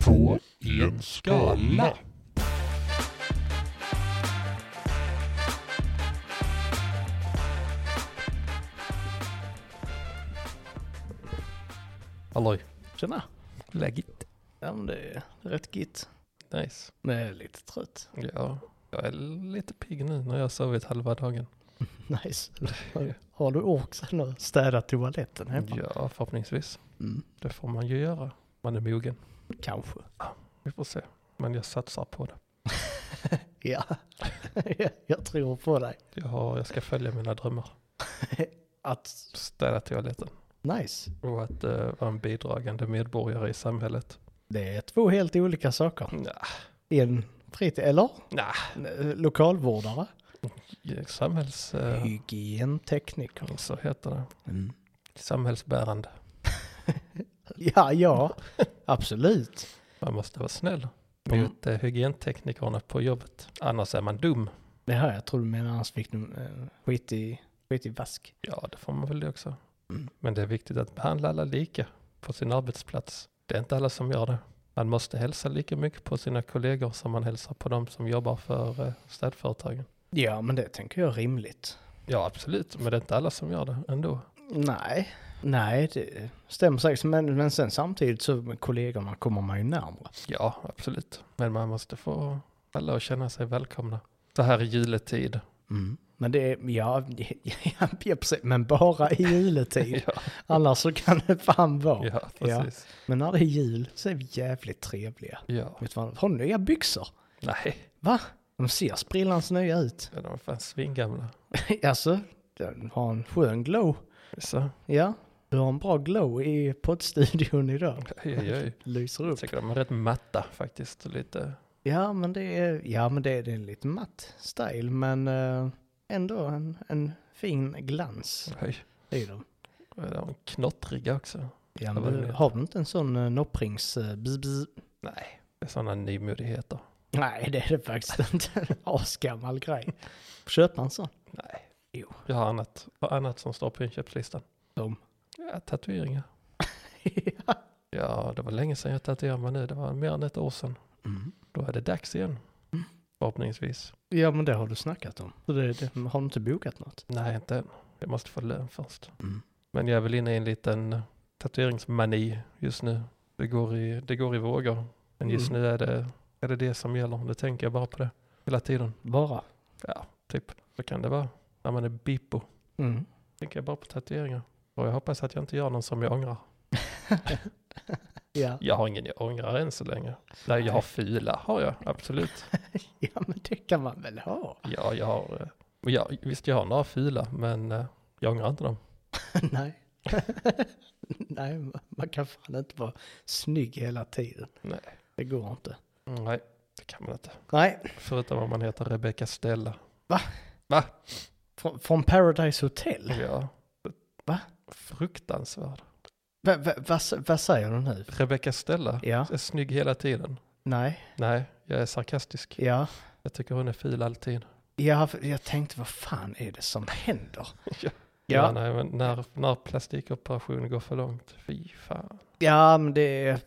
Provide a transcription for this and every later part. på en skala. Halloj. Tjena. Läget? Ja men det är rätt gitt. Nice. Men jag är lite trött. Ja, jag är lite pigg nu när jag har sovit halva dagen. Nice. Har du också nu städat toaletten hemma? Ja, förhoppningsvis. Mm. Det får man ju göra. Man är mogen. Kanske. Vi får se. Men jag satsar på det. Ja. jag tror på dig. Jag, har, jag ska följa mina drömmar. Att, Städa toaletten. nice. Och att eh, vara en bidragande medborgare i samhället. Det är två helt olika saker. Nja, En fritid, eller? nah. Eh, Lokalvårdare. samhälls... eh, Hygientekniker. så heter det. Samhällsbärande. Ja, ja. Absolut. Man måste vara snäll Mm. mot eh, hygienteknikerna på jobbet. Annars är man dum. Det här jag tror du menar annars fick du eh, skit i, skit i vask. Ja, det får man väl det också. Mm. Men det är viktigt att behandla alla lika på sin arbetsplats. Det är inte alla som gör det. Man måste hälsa lika mycket på sina kollegor som man hälsar på de som jobbar för eh, städföretagen. Ja, men det tänker jag är rimligt. Ja, absolut, men det är inte alla som gör det ändå. Nej, nej, det stämmer säkert. Men, men sen samtidigt så med kollegorna kommer man ju närmare. Ja, absolut. Men man måste få alla att känna sig välkomna. Så här i juletid. Men det är, ja, ja, ja, precis, men bara i juletid. Ja, Annars så kan det fan vara. ja precis. Men när det är jul så är vi jävligt trevliga. Ja. Vet du vad, har ni nya byxor? Nej, Va? De ser sprillans nya ut. de är fan svingamla. alltså, den har en skön glow. Så, Ja, du har en bra glow i poddstudion idag. oj, oj, oj. Lyser upp. Jag tycker de är rätt matta faktiskt. och Lite Ja, men det är, ja, men det är, det är en lite matt style, men eh, ändå en, en fin glans Oj, i dem. är de knottriga också? Ja, vad men, det är. har du inte en sån uh, nopprings... eh, bzz, bzz? Nej, det är sådana nymodigheter. Nej, det är det faktiskt inte. En asgammal grej. Köpa en sån. Nej. Jo. Jag har annat, har annat som står på inköpslistan. Som. Ja, tatueringar. ja. Ja, det var länge sedan jag tatuerade mig nu. Det var mer än ett år sedan. Mm. Då är det dags igen. Förhoppningsvis. ja, men det har du snackat om. Mm. Så det, det, har du inte bokat något? Nej, inte än. Jag måste få lön först. Mm. Men jag är väl inne i en liten tatueringsmani just nu. Det går i, det går i vågor. Men just Mm. nu är det, är det det som gäller. Nu tänker jag bara på det hela tiden. Bara? Ja, typ. Så kan det vara när man är bippo. Mm. tänker jag bara på tatueringar. Och jag hoppas att jag inte gör någon som jag ångrar. Ja. Jag har ingen jag ångrar än så länge. Nej, jag har fula, har jag. Absolut. ja, men det kan man väl ha? Ja, jag har... eh, men Ja, visst, jag har några fula, men eh, jag ångrar inte dem. Nej. Nej, man- man kan fan inte vara snygg hela tiden. Nej. Det går inte. Mm, Nej, det kan man inte. Nej, Förutom om man heter Rebecca Stella. från, från Paradise Hotel. Ja. Va? Fruktansvärd. Va- va- Vad s- vad säger du nu? Rebecca Stella Ja, är snygg hela tiden. nej, Nej, jag är sarkastisk. ja. Jag tycker hon är ful alltid. Jag, jag tänkte, vad fan är det som händer? Ja. Ja, ja, nej, men när, när plastikoperationen går för långt, fy fan. men det är eh,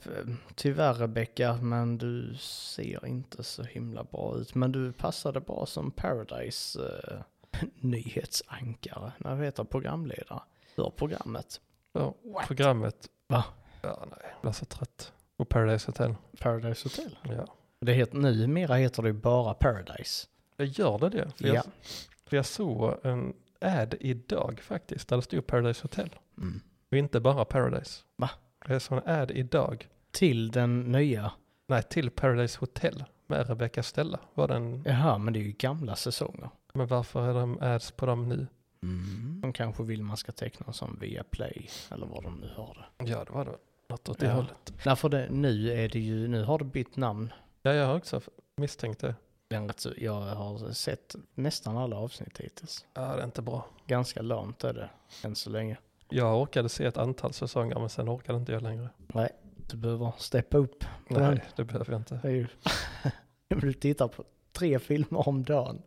tyvärr Rebecca, men du ser inte så himla bra ut. Men du passade bra som Paradise eh, nyhetsankare, när vi heter programledare. För programmet. Ja, programmet. Va? Ja, nej. Jag blir så trött. Och Paradise Hotel. Paradise Hotel. Ja. Det heter, numera heter det ju bara Paradise. Jag gör det det? För Ja. jag, för jag såg en ad idag faktiskt, där det stod Paradise Hotel. Mm. Och inte bara Paradise. Va? Jag såg en ad idag. Till den nya Nej, till Paradise Hotel med Rebecca Stella. Var den, Jaha, men det är ju gamla säsonger. Men varför är de ads på dem nu? De kanske vill man ska teckna en sån via Play eller vad de nu har det. Ja, det var det. Något åt det Ja. hållet. Därför det, nu är det ju, nu har det bytt namn. Ja, jag har också misstänkt det. Det är rätt så- Jag har sett nästan alla avsnitt hittills. Ja, det är inte bra. Ganska lamt är det än så länge. Jag orkade se ett antal säsonger, men sen orkade inte jag längre. Du behöver steppa upp. Men- Nej, det behöver jag inte. Det är ju, om du tittar på tre filmer om dagen.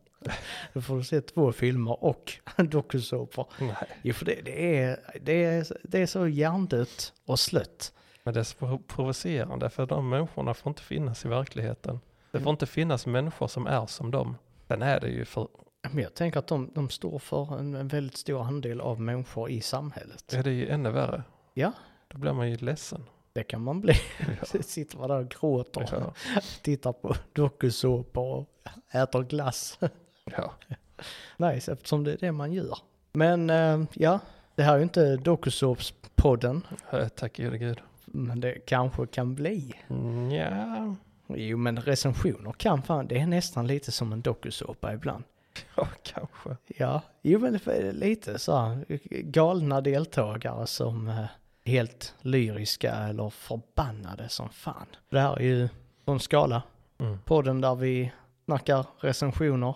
Då får du se två filmer och en dokusåpa. Nej. Jo, för det, det, är, det, är, det är så hjärndött och slött. Men det är så prov- provocerande för de människorna får inte finnas i verkligheten. Det får inte finnas människor som är som dem. Sen är det ju för, Men jag tänker att de, de står för en, en väldigt stor andel av människor i samhället. ja, det är ju ännu värre. Ja. Då blir man ju ledsen. Det kan man bli. Sitter man där och gråter, Ja. tittar på dokusåpor och äter glass. Ja. nice, eftersom det är det man gör. Men eh, ja, det här är ju inte dokusåpspodden, Eh, Tack gode gud. men det kanske kan bli. Nja, Jo, men recensioner kan fan, det är nästan lite som en dokusåpa ibland. ja kanske. Ja, jo men för- lite så här, galna deltagare som eh, är helt lyriska eller förbannade som fan. Det här är ju på en skala, Mm. podden där vi snackar recensioner.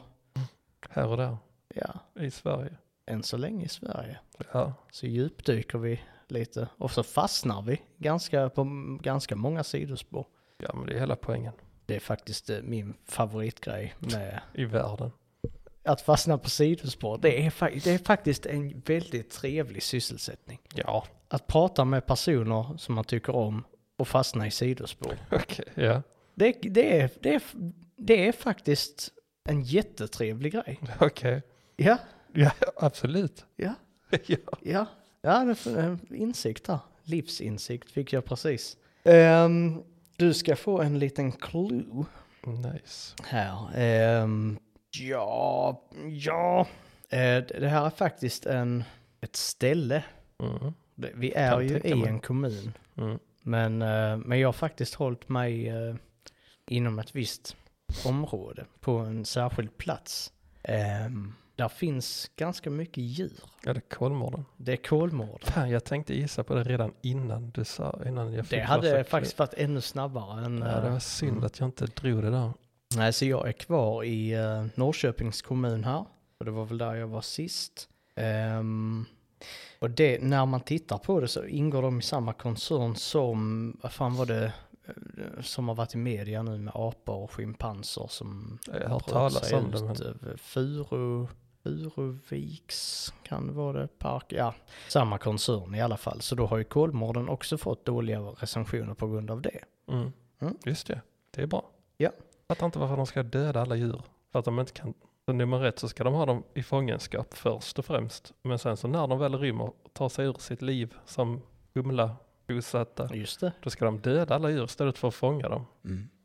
Här och där Ja, i Sverige. än så länge i Sverige. Ja. Så djupdyker vi lite och så fastnar vi ganska, på m- ganska många sidospår. ja, men det är hela poängen Det är faktiskt eh, min favoritgrej med i världen. att fastna på sidospår. Det är, fa- det är faktiskt en väldigt trevlig sysselsättning. Ja, Att prata med personer som man tycker om och fastna i sidospår. okej. Ja, Det, det, är, det, är, det är faktiskt en jättetrevlig grej. okej. Ja, Ja, absolut. ja, ja. ja. Ja, det är en insikt där. Livsinsikt fick jag precis. Ehm, du ska få en liten clue Nice. här. Ehm, ja, ja. Eh, det här är faktiskt en, ett ställe. Mm. Det- Vi är Kan ju tänka i mig. en kommun. Mm. Men, eh, men jag har faktiskt hållit mig eh, inom ett visst område på en särskild plats. Ehm, där finns ganska mycket djur. Ja, det är Kolmården. Det är Kolmården. Fan, jag tänkte gissa på det redan innan du sa, innan jag fick Det hade första faktiskt varit ännu snabbare än... eh, klipp. Ja, det var synd att jag inte drog det där. Nej, så jag är kvar i eh, Norrköpings kommun här. Och det var väl där jag var sist. Ehm, och det, när man tittar på det så ingår de i samma koncern som, vad fan var det, eh, som har varit i media nu med apor och schimpanser som Jag har hört bröt talas sig om det, men ut över Furu, Furuviks kan det vara det, park, ja. Samma koncern i alla fall. Så då har ju Kolmården också fått dåliga recensioner på grund av det. mm. Mm. just det, det är bra. Ja. Fattar inte varför de ska döda alla djur. För att de inte kan, så nummer ett så ska de ha dem i fångenskap först och främst. Men sen så när de väl rymmer och tar sig ur sitt liv som Humla bosatta, Just det. då ska de döda alla djur istället för att fånga dem.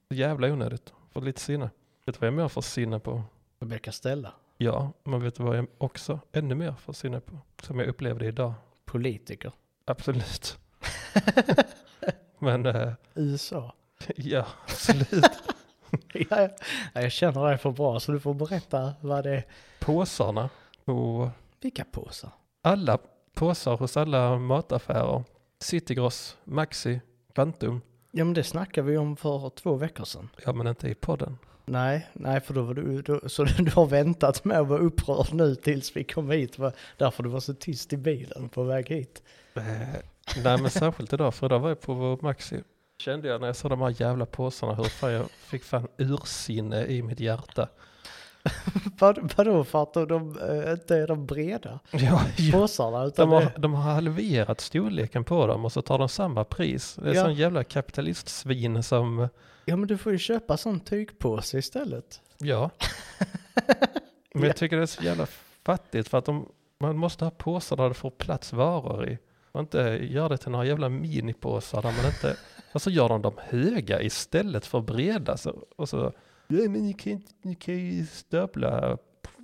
Så jävla onödigt. Får lite sinne. Vet du vad jag mer får sinne på? Rebecka Stella, Ja, men vet du vad jag också ännu mer får sinne på? Som jag upplevde idag. politiker. Absolut. Men eh, USA. ja, absolut. Ja, jag känner dig för bra så du får berätta vad det är. Påsarna på Vilka påsar? alla påsar hos alla mataffärer. Citygross, Maxi, Quantum. Ja men det snackade vi om för två veckor sedan. Ja, men inte i podden. Nej, nej för då var du, då, så du har väntat med att vara upprörd nu tills vi kom hit. va? Därför du var så tyst i bilen på väg hit. Eh, Nej, men särskilt idag, för idag var jag på vår Maxi. Kände jag när jag såg de här jävla påsarna hur fan jag fick fan ursinne i mitt hjärta. Vad, vadå för att de, de eh, inte är de breda Ja, påsarna utan De har, det, de har halverat storleken på dem och så tar de samma pris. Det är Ja. sån jävla kapitalistsvin som, Ja men du får ju köpa sån tygpåse istället. ja. Men Ja. jag tycker det är så jävla fattigt för att de, man måste ha påsar där det får plats varor i. Och inte gör det till några jävla minipåsar där man inte, och så gör de dem höga istället för breda. Så, och så, nej men ni kan, inte, ni kan ju stöpla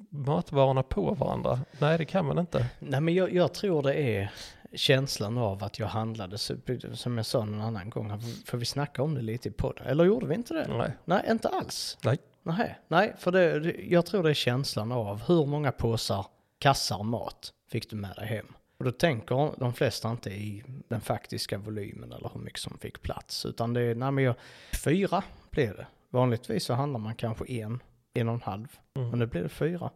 matvarorna på varandra. Nej det kan man inte. Nej men jag, jag tror det är känslan av att jag handlade så- som jag sa någon annan gång. För vi snackade om det lite i podden. Eller gjorde vi inte det? Nej. Nej, inte alls. Nej. Nej, nej för det, det- jag tror det är känslan av hur många påsar, kassar mat fick du med dig hem? Och då tänker de flesta inte i den faktiska volymen eller hur mycket som fick plats. Utan det är, nej men jag, fyra blir det. Vanligtvis så handlar man kanske en, en och en halv. Mm. Men nu blir det fyra.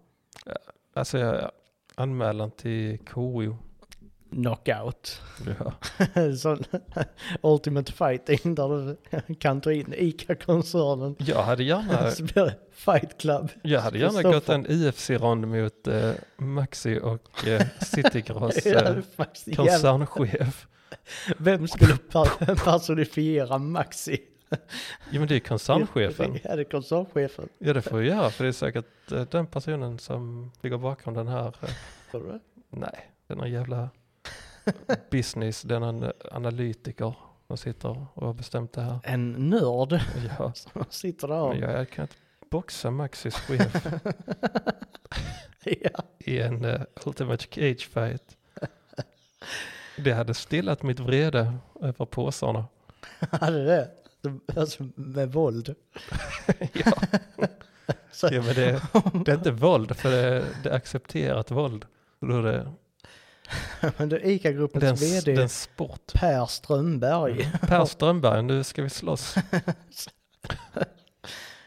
Alltså jag, anmälan till KO. Knockout. Ja. Sån ultimate fighting där du kan ta in ICA-koncernen. Jag hade gärna, Så blir det fight club. jag hade gärna Kristoffer. gått en UFC-rond mot eh, Maxi och eh, Citygross Ja, det eh, är faktiskt jävla- koncernchef. Vem skulle per- personifiera Maxi? Jo men det är koncernchefen. Ja, det är koncernchefen. Ja det får jag göra för det är säkert eh, den personen som ligger bakom den här. eh, Tror du det? Nej, den här jävla business, den här analytiker som sitter och har bestämt det här. En nörd Ja, som sitter men där. jag, jag kan inte boxa Maxis chef Ja. i en eh, Ultimate Cage Fight. Det hade stillat mitt vrede över påsarna. Hade det? Alltså med våld. Ja, Så, ja men det, det är inte våld, för det, det är accepterat våld. Då är det, men du, det är en, s- ICA-gruppens vd det är en sport. Mm. Per Strömberg. Per Strömberg, nu ska vi slåss.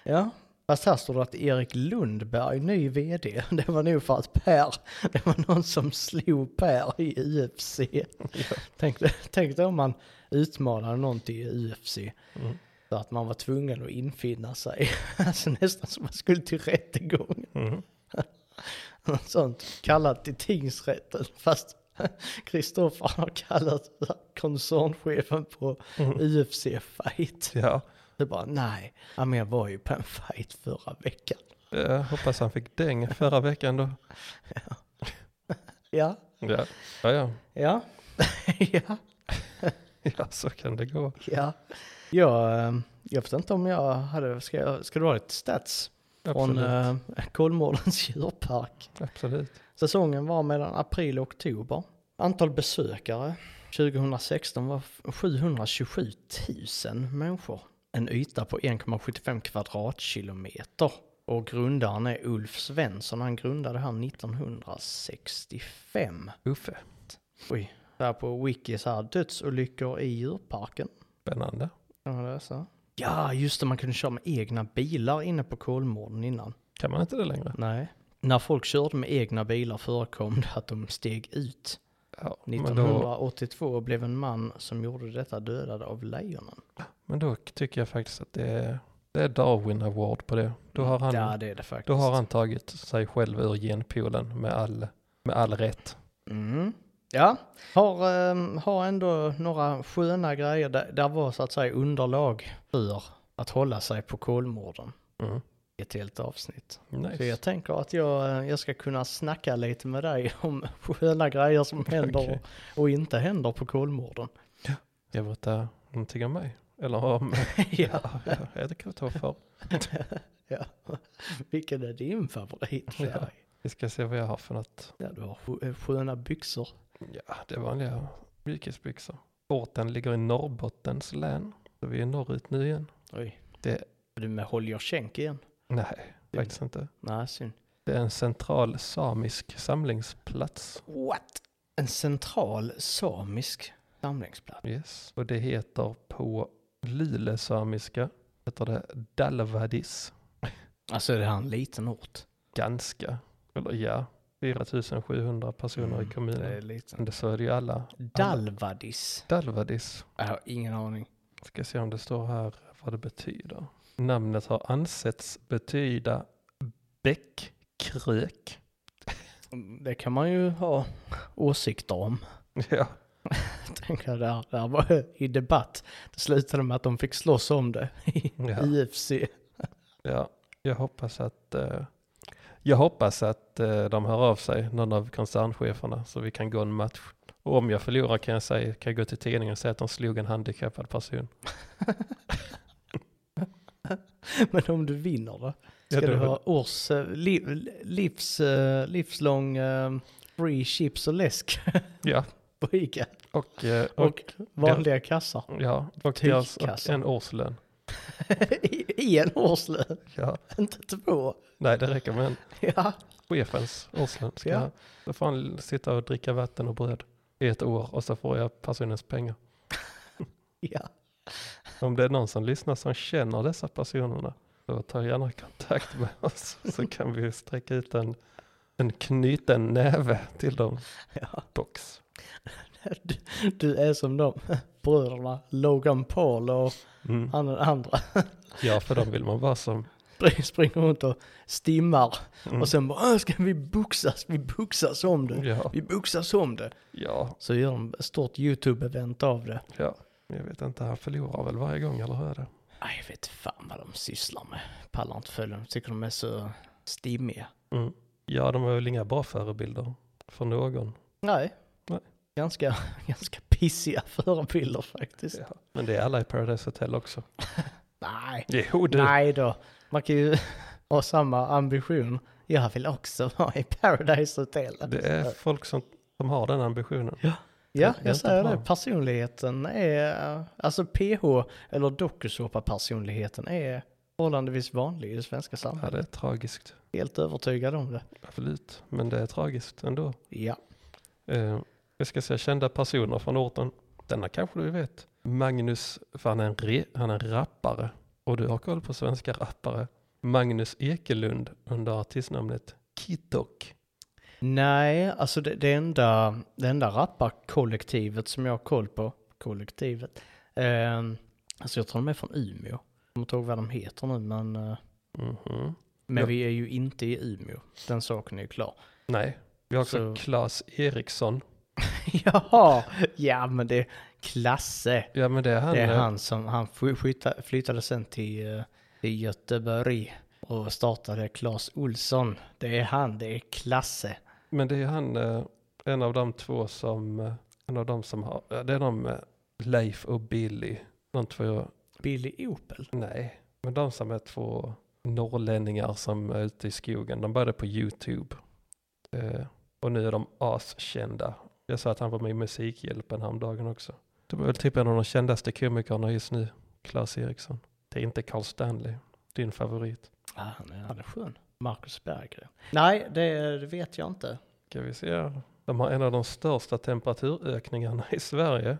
Ja. Fast här står det att Erik Lundberg, ny vd, det var nog för att Per, det var någon som slog Per i UFC. Tänk, dig- tänk dig om man utmanade någon till UFC. Mm. Så att man var tvungen att infinna sig. Alltså nästan som man skulle till rättegång. Mm. Något sånt. Kallat till tingsrätten. Fast Kristoffer har kallat koncernchefen på UFC-fight. Mm. Ja, Det bara nej, ja, men jag var ju på en fight förra veckan. jag hoppas han fick däng förra veckan då. Ja, Ja, ja, ja. ja, ja, ja så kan det gå. ja. Jag, eh, jag vet inte om jag hade, ska, jag, ska du ha ett stats? Från Absolut. äh, Kolmårdens djurpark. Absolut. Säsongen var mellan april och oktober. Antal besökare 2016 var 727 000 människor. En yta på 1,75 kvadratkilometer. Och grundaren är Ulf Svensson. Han grundade det här 1965. Uffe. Oj, där på wiki så här dödsolyckor i djurparken. Spännande. Kan man läsa? Ja, just det, man kunde köra med egna bilar inne på Kolmården innan. Kan man inte det längre? Nej. När folk körde med egna bilar förekom det att de steg ut. Ja, men, då, 1982 blev en man som gjorde detta dödad av lejonen. men då tycker jag faktiskt att det är, det är Darwin Award på det. Då har han, ja, det är det faktiskt. då har han tagit sig själv ur genpoolen med all, med all rätt. Mm. Ja, har, ehm, har ändå några sköna grejer. Där, där var så att säga underlag för att hålla sig på Kolmården. Mm. i Ett helt avsnitt. Så Nice. jag tänker att jag, eh, jag ska kunna snacka lite med dig om sköna grejer som händer Okej. och, och inte händer på Kolmården. Jag berättar någonting om mig. Eller om, ja. ja, ja, det kan vi ta för. Ja. Vilken är din favorit? Ja. Ja. Vi ska se vad jag har för något. ja, du har skö- sköna byxor. Ja, det är vanliga mjukisbyxor. Båten ligger i Norrbottens län. Så vi är norrut nu igen. Oj. Det- Är du med Holger Schenk igen? Nej, faktiskt inte. Nej, synd. Det är en central samisk samlingsplats. What? En central samisk samlingsplats. Yes. Och det heter på lulesamiska, heter det Dalvadis. Alltså är det här en liten ort? Ganska, eller ja, 4700 personer i Mm, Det är kommunen. liten. Men det så är det ju alla. Dalvadis. Dalvadis. Jag har ingen aning. Ska se om det står här vad det betyder. Namnet har ansetts betyda bäckkrök. Det kan man ju ha åsikter om. Ja, Jag tänker där, där var i debatt. Det slutade med att de fick slåss om det i Ja. IFC. Ja, jag hoppas att, eh, jag hoppas att eh, de hör av sig, någon av koncerncheferna, så vi kan gå en match. Och om jag förlorar kan jag, säga, kan jag gå till tidningen och säga att de slog en handikappad person. Men om du vinner då? Ska Ja, du då- ha års, eh, liv, livs, eh, livslång eh, free chips och läsk Ja, på Ica? och, eh, och, Och vanliga kassar ja, och Tygkassa. deras, och en årslön. I, i en årslön, Ja. inte två. Nej, det räcker med en Ja, chefens årslön. Ska Ja. jag, då får han sitta och dricka vatten och bröd i ett år och så får jag personens pengar. ja. Om det är någon som lyssnar som känner dessa personerna, så ta gärna kontakt med oss så kan vi sträcka ut en, en knuten näve till dem. Ja. Box. Du, du är som de bröderna Logan Paul och Mm. han den andra. Ja, för dem vill man vara som Spr- springer runt och stimmar. Mm. Och sen bara, "Åh, ska vi boxas, vi boxas om det. Ja, Vi boxas om det. ja, Så gör de ett stort YouTube-event av det. ja. Jag vet inte, han förlorar väl varje gång, eller hur är det? Aj, jag vet fan vad de sysslar med. Pallar inte följa dem, tycker de är så stimmiga. Mm. Ja, de är väl inga bra förebilder för någon. Nej. Nej. Ganska, ganska pissiga förebilder faktiskt. Ja. Men det är alla i Paradise Hotel också. Nej. Jo du, Nej då. Man kan ju ha samma ambition. Jag vill också vara i Paradise Hotel. det är folk som, som har den ambitionen. Ja, det är jag inte säger bra. det. Personligheten är, alltså PH eller dokusåpa-personligheten är förhållandevis vanlig i det svenska Ja, samhället. det är tragiskt. Helt övertygad om det. Absolut, men det är tragiskt ändå. Ja. Eh, vi ska säga kända personer från orten. Denna kanske du vet. Magnus, för han är en, re, han är en rappare. Och du har koll på svenska rappare. Magnus Ekelund under artistnamnet Kitok. Nej, alltså det, det enda, det enda rapparkollektivet som jag har koll på, kollektivet, eh, alltså jag tror de är från Umeå. Jag kommer inte ihåg vad de heter nu, men, eh, Mhm. men Ja. vi är ju inte i Umeå. Den saken är ju klar. Nej, vi har också Så- Klas Eriksson. Jaha, ja men det, Klasse. Ja men det är han. Det är eh, han som, han fly- flytta- flyttade sen till, eh, till Göteborg och startade Claes Olsson. Det är han, det är Klasse. Men det är han, eh, en av de två som, eh, en av de som har, ja, det är de eh, Leif och Billy. De två, Billy Opel. nej, men de som är två norrlänningar som är ute i skogen. De började på YouTube. Eh, och nu är de askända. Jag sa att han var med i Musikhjälpen häromdagen också. De är väl typ en av de kändaste komikerna just nu, Claes Eriksson. Det är inte Carl Stanley, din favorit. Ja, han är, han är skön. Marcus Berggren. Nej, det, det vet jag inte. Ska vi se här. De har en av de största temperaturökningarna i Sverige.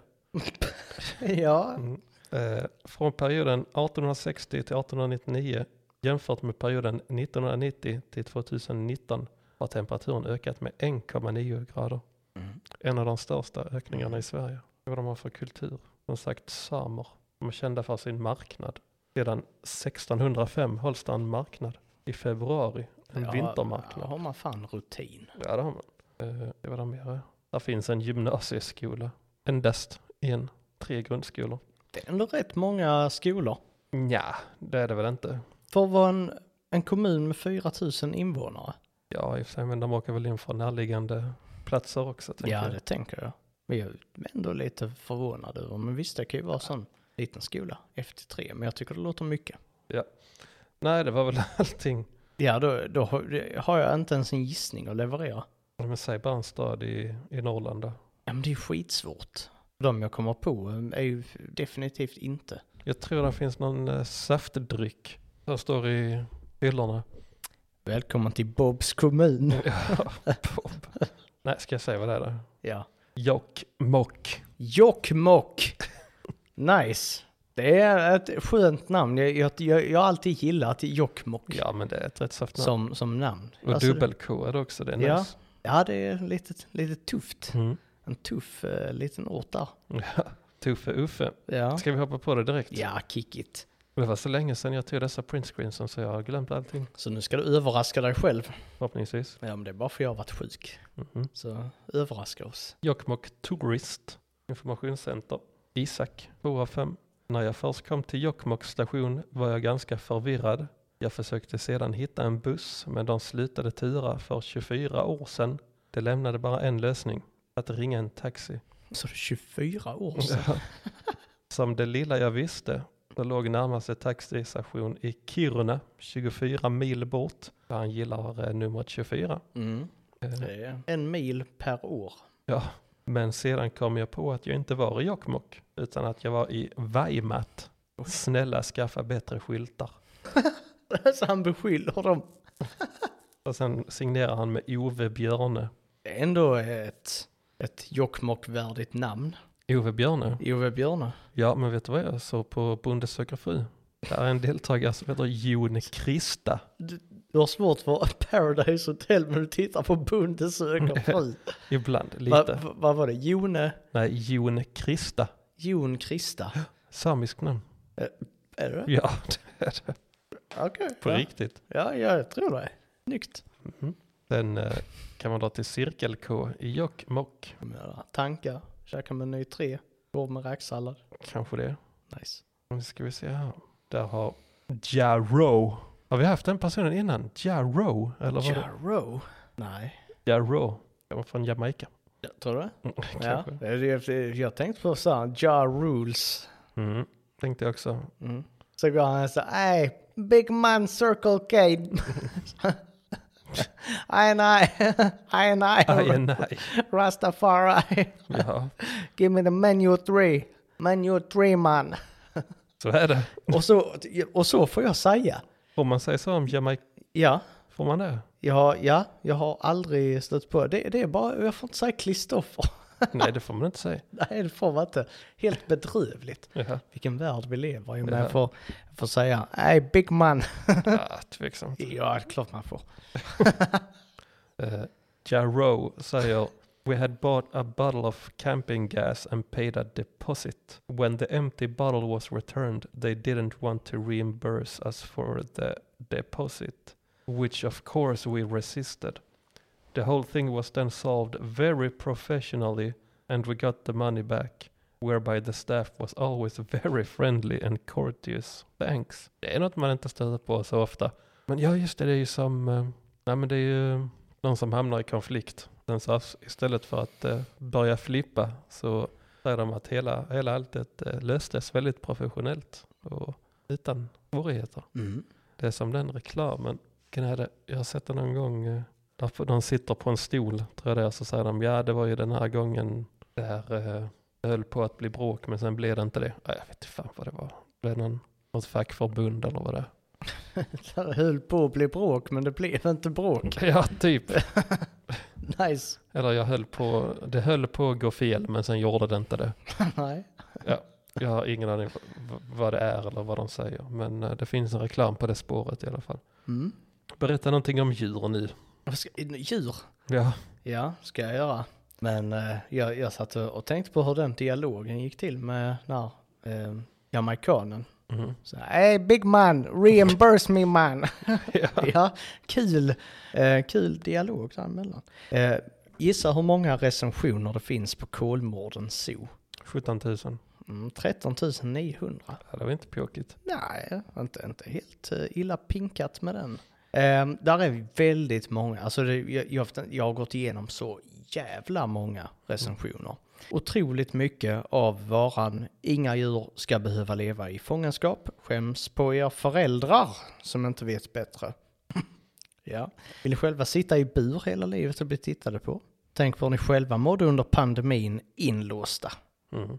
ja. Mm. Eh, från perioden 1860 till 1899 jämfört med perioden 1990 till 2019 har temperaturen ökat med 1,9 grader. Mm. En av de största ökningarna i Sverige. Vad de har för kultur. Som sagt samer. De är kända för sin marknad. Sedan 1605 hålls det en marknad i februari. En Ja, vintermarknad. ja, har man fan rutin. Ja, det har man. Eh, Det var där mer. Där finns en gymnasieskola. Endast en. Tre grundskolor. Det är ändå rätt många skolor. Nja, det är det väl inte. För att vara en, en kommun med 4 000 invånare. Ja, i och för sig, men de åker väl in från närliggande platser också. tänker Ja, jag. det tänker jag. Men jag är ändå lite förvånad över, men visst det kan ju vara sån liten skola, FT3, men jag tycker det låter mycket. Nej, det var väl allting. Ja, då, då har- har jag inte ens en gissning att leverera. Ja, Men säg bara en stad i, i Norrland då. Ja, men det är skitsvårt. De jag kommer på eh, är ju definitivt inte. Jag tror det finns någon eh, saftdryck som står i hyllorna. Välkommen till Bobs kommun. Ja, pop. Nej, ska jag säga vad det är då? Ja. Jokkmokk. Jokkmokk. Nice. Det är ett skönt namn. Jag, jag, jag, jag har alltid gillat Jokkmokk Ja, men det är ett rätt soft namn. som, som namn. Och Alltså, dubbel-K är det också, det är Ja. nice. Ja, det är lite, lite tufft. Mm. En tuff eh, liten ort där. Ja, Tuffe Uffe. Ja. Ska vi hoppa på det direkt? ja, kick it. Det var så länge sedan jag tog dessa printscreensen så jag har glömt allting. Så nu ska du överraska dig själv. Förhoppningsvis. Ja, men det är bara för jag har varit sjuk. Mhm. Så överraska oss. Jokkmokk Tourist Informationscenter. Isak, 2 av 5. När jag först kom till Jokkmokks station var jag ganska förvirrad. Jag försökte sedan hitta en buss men de slutade tura för 24 år sedan. Det lämnade bara en lösning. Att ringa en taxi. Så det är 24 år sedan. Som det lilla jag visste, då låg närmaste taxistation i Kiruna, 24 mil bort. För han gillar eh, numret 24. Mm. Eh, Det är en mil per år. Men sedan kom jag på att jag inte var i Jokkmokk, utan att jag var i Vaimat. Snälla skaffa bättre skyltar. Så han beskyller dem. Och sen signerar han med Ove Björne. Det är ändå ett, ett Jokkmokk-värdigt namn. Ove Björne? Ove Björne. Ja, men vet du vad jag såg på Bonde söker fru? Där är en deltagare som heter Jon Krista. Du har svårt för Paradise Hotel men du tittar på Bonde söker fru. Ibland, Va- lite. va- Vad var det? Jone? Nej, Jon Krista. Jon Krista? Samisk namn. Är det det? Ja, det är det. Okej. På ja. riktigt. ja, jag tror det. Snyggt. Sen eh, kan man dra till Cirkel K i Jokkmokk. Kommer jag där. Tankar, käka med ny tre, går med räksallad. Kanske det. Nice. Nu ska vi se här. Där har Jarro. Har vi haft den personen innan? Jarro? Eller vad? det- Jarro? Nej. Jarro. Kommer från Jamaica. Tror du? Mm, Ja, Kanske. det är det- jag tänkte på såhär, Ja Rules. Mm. Tänkte jag också. Mm. Så går han så hej, big man circle K. Aj nej, aj Aj, nej, nej. Rastafari. Ja, Give me the menu three, menu three man. så är det. och, så, och så får jag säga. Får man säga så om Jamaica? Ja, Får man det? jag har, ja, jag har aldrig stött på det. Det är bara, jag får inte säga Kristoffer. Nej, det får man inte säga. Nej, det får man inte. Helt bedrövligt. Ja, Vilken värld vi lever i om Ja. jag får, jag får säga, hej big man. ah, tveksamt. ja, det är klart man får. Uh, Jarro säger We had bought a bottle of camping gas and paid a deposit. When the empty bottle was returned, they didn't want to reimburse us for the deposit, which of course we resisted. The whole thing was then solved very professionally, and we got the money back, whereby the staff was always very friendly and courteous. Thanks. Det är något man inte stöter på så ofta. Men ja, just det, det är ju som... eh, nej, men det är ju... någon som hamnar i konflikt. Sen så ass- istället för att eh, börja flippa så säger de att hela, hela alltet eh, löstes väldigt professionellt och utan svårigheter. Mm. Det är som den reklamen. Vilken är det? Jag har sett den någon gång. eh, Där får- de sitter på en stol tror jag det är. Så säger de ja det var ju den här gången där eh, det höll på att bli bråk men sen blev det inte det. Ja, jag vet inte fan vad det var. Det blev någon, något fackförbund eller vad det är. Det höll på att bli bråk, men det blev inte bråk. Ja typ. Nice. Eller jag höll på, det höll på att gå fel men sen gjorde det inte det. Nej. Jag har ingen aning v- vad det är eller vad de säger. Men eh, det finns en reklam på det spåret i alla fall. Mm. Berätta någonting om djur nu. Vad ska- Djur? Ja, Ja, ska jag göra. Men eh, jag, jag satt och och tänkte på hur den dialogen gick till med när eh, jamaikanen. mhm. Så, hey big man, reimburse me man. Ja. ja, kul, eh, kul dialog däremellan. Eh, gissa hur många recensioner det finns på Kolmården Zoo? 17 000. Mm, 13 900. Ja, det var inte pjåkigt. Nej, inte, inte helt eh, illa pinkat med den. Ehm, där är väldigt många, alltså det, jag, jag, har haft en- jag har gått igenom så jävla många recensioner. Otroligt mycket av varan inga djur ska behöva leva i fångenskap. Skäms på er föräldrar som inte vet bättre. ja. Vill själva sitta i bur hela livet och bli tittade på? Tänk på hur ni själva mådde under pandemin inlåsta. Mm.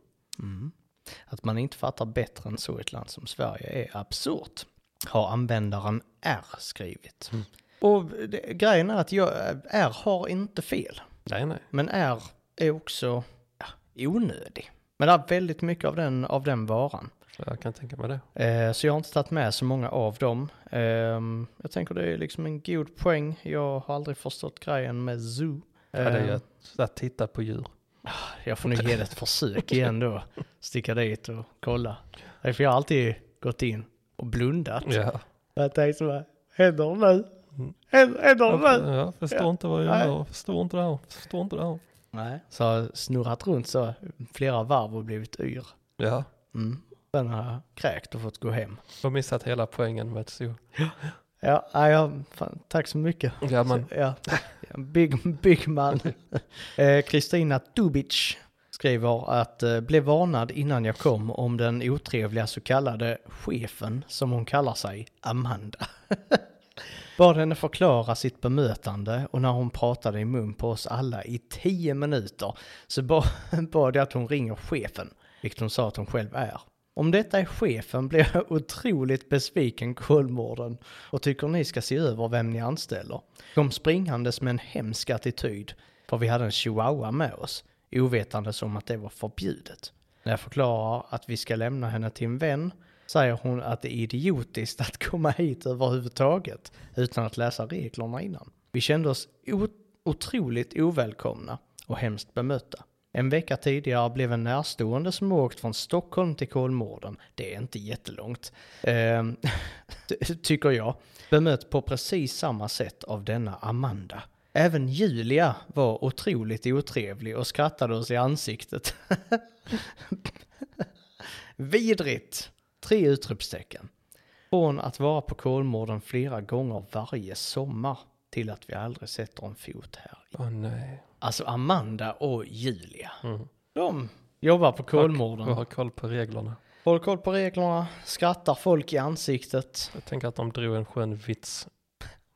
Att man inte fattar bättre än så i ett land som Sverige är absurt. Har användaren R skrivit. Mm. Och det, grejen är att jag, R har inte fel. Nej, nej. Men R är också ja, onödig. Men det är väldigt mycket av den, av den varan. Jag kan tänka mig det. Eh, så jag har inte tagit med så många av dem. Ehm, jag tänker det är liksom en god poäng. Jag har aldrig förstått grejen med zoo. Ja, det är ju Ehm, att, att titta på djur. Jag får nog ge det ett försök igen då. Sticka dit och kolla. Det är För jag har alltid gått in och blundat. Ja. Jag tänkte så här, händer det nu? Mm. Händer, händer det nu? Jag, jag förstår Ja. inte vad jag Nej. gör. Förstår inte det här. Förstår inte det här. Nej. Så har jag snurrat runt så flera varv och blivit yr. Ja. Mm. Sen har jag kräkt och fått gå hem. Jag har missat hela poängen med ett zoo. Ja, nej, jag, fan, tack så mycket. Ja, men Så, ja. Big, big man. Eh, Kristina Dubic skriver att eh, blev varnad innan jag kom om den otrevliga så kallade chefen som hon kallar sig, Amanda. Bad henne förklara sitt bemötande och när hon pratade i mun på oss alla i tio minuter så ba- bad jag att hon ringer chefen, vilket hon sa att hon själv är. Om detta är chefen blir jag otroligt besviken Kolmården och tycker ni ska se över vem ni anställer. Kom springandes med en hemsk attityd, för vi hade en chihuahua med oss, ovetandes om att det var förbjudet. När jag förklarar att vi ska lämna henne till en vän säger hon att det är idiotiskt att komma hit överhuvudtaget utan att läsa reglerna innan. Vi kände oss o- otroligt ovälkomna och hemskt bemötta. En vecka tidigare blev en närstående som åkt från Stockholm till Kolmården, det är inte jättelångt, eh, ty- tycker jag, bemött på precis samma sätt av denna Amanda. Även Julia var otroligt otrevlig och skrattade oss i ansiktet. Vidrigt! Tre utropstecken. Från att vara på Kolmården flera gånger varje sommar till att vi aldrig sätter en fot här. Åh nej. Alltså Amanda och Julia. Mm. De jobbar på Kolmården. Jag har koll på reglerna. Håller koll på reglerna, skrattar folk i ansiktet. Jag tänker att de drog en skön vits.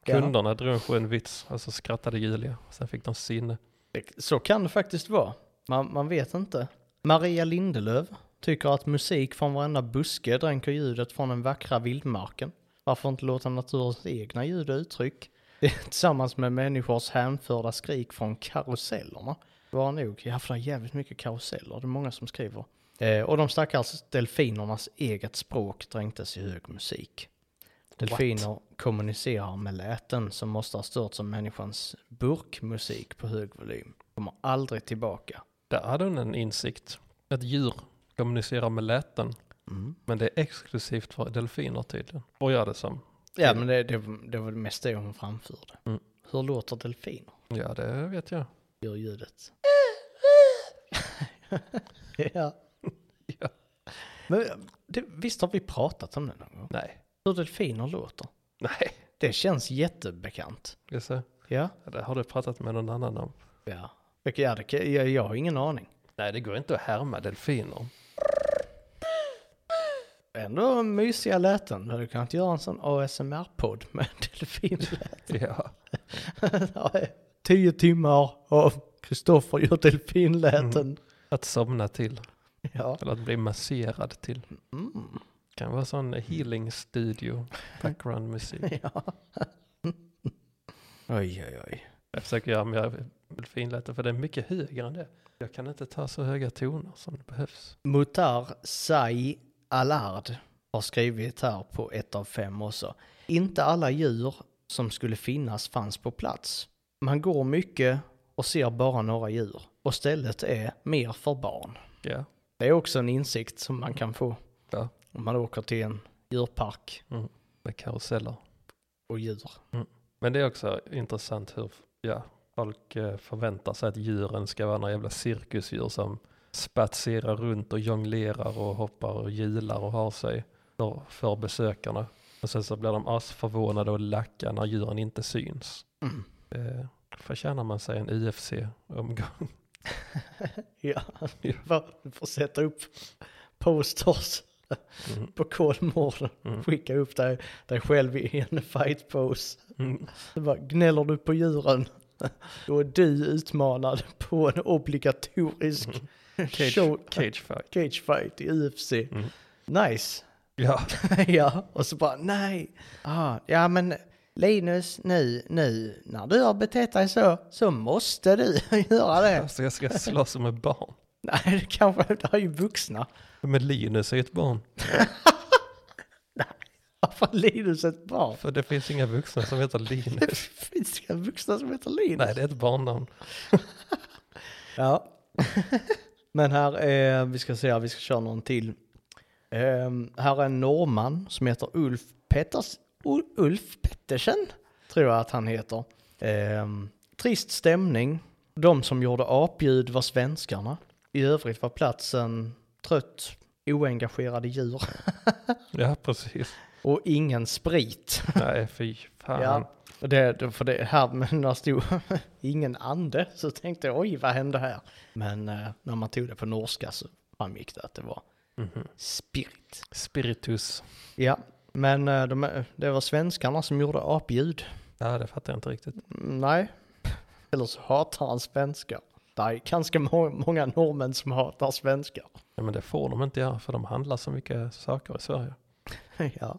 Ja. Kunderna drog en skön vits, alltså skrattade Julia. Sen fick de sinne. Det- Så kan det faktiskt vara. Man, man vet inte. Maria Lindelöf tycker att musik från varenda buske dränker ljudet från den vackra vildmarken. Varför inte låta naturens egna ljud och uttryck tillsammans med människors hänförda skrik från karusellerna vara nog? Ja, för det är jävligt mycket karuseller. Det är många som skriver. Eh, och de stackars delfinernas eget språk dränktes i hög musik. Delfiner kommunicerar med läten som måste ha stört som människans burkmusik på hög volym. Kommer aldrig tillbaka. Där hade hon en insikt. Ett djur kommunicerar med läten, Mm. men det är exklusivt för delfiner tydligen. Och gör det som. Ja, men det, det, det var det mesta hon framförde. Mm. Hur låter delfiner? Ja, det vet jag. Gör ljudet. ja. Ja. Men eh, det, visst har vi pratat om det någon gång? Nej. Hur delfiner låter. Nej. Det känns jättebekant. Jag ser. Ja. Ja, Det har du pratat med någon annan om. Ja. Ja, det, kan- jag, jag har ingen aning. Nej, det går inte att härma delfiner. Ändå mysiga läten. Du kan inte göra en sån ASMR-podd med delfinläten. Ja. Tio timmar av Kristoffer gör delfinläten. Att somna till, Ja. eller att bli masserad till. Mm. Kan vara sån healing studio, background musik. ja. oj, oj, oj. Jag försöker göra mer delfinläten, för det är mycket högre än det. Jag kan inte ta så höga toner som det behövs. Mutar Sai Allard har skrivit här på ett av fem också. Inte alla djur som skulle finnas fanns på plats. Man går mycket och ser bara några djur. Och stället är mer för barn. Ja. Det är också en insikt som man kan få Ja. om man åker till en djurpark med karuseller. och djur. Men det är också intressant hur ja, folk eh, förväntar sig att djuren ska vara några jävla cirkusdjur som spatserar runt och jonglerar och hoppar och hjular och har sig för, för besökarna. Och sen så blir de asförvånade och lacka när djuren inte syns. Mm. Eh, förtjänar man sig en UFC-omgång? Ja, för, för att sätta upp posters Mm. på Kolmården. Mm. Skicka upp dig, dig själv i en fight pose. Mm. Det bara, gnäller du på djuren, då är du utmanad på en obligatorisk Cage, show, cage fight. cage fight i UFC. Mm. Nice! Ja, ja, och så bara nej. Ah, ja, men Linus, nu, nu när du har betett dig så, så måste du göra det. alltså jag ska slåss med barn. nej, det kanske, det är ju vuxna. Men Linus är ju ett barn. Varför är Linus ett barn? För det finns inga vuxna som heter Det Linus. finns inga vuxna som heter Linus. Nej, det är ett barnnamn. Ja. men här är, vi ska se, här, vi ska köra någon till. Ehm, här är en norrman som heter Ulf Petters, U- Ulf Pettersen, tror jag att han heter. Ehm, trist stämning. De som gjorde apljud var svenskarna. I övrigt var platsen trött, oengagerade djur Ja, precis. och ingen sprit. Nej, fy fan. Ja, och det, det- för det här med när det stod ingen ande så tänkte jag oj vad hände här? Men eh, när man tog det på norska så framgick det att det var Mhm. spirit. Spiritus. Ja, men eh, de, det var svenskarna som gjorde apljud. Ja, det fattar jag inte riktigt. Mm, Nej, eller så hatar han svenskar. Det är ganska må- många norrmän som hatar svenskar. Ja, men det får de inte göra för de handlar så mycket saker i Sverige. ja.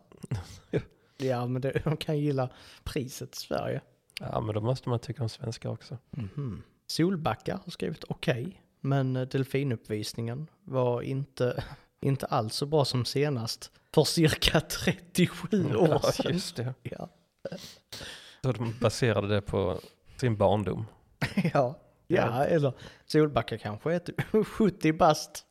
ja, men det, de kan gilla priset Sverige. Ja, men då måste man tycka om svenska också. Mhm. Solbacka har skrivit okej, men eh, delfinuppvisningen var inte, inte alls så bra som senast. För cirka 37 år Mm. Ja, sedan. just det. Ja, Så de baserade det på sin barndom. ja. ja eller Solbacka kanske är typ 70 bast.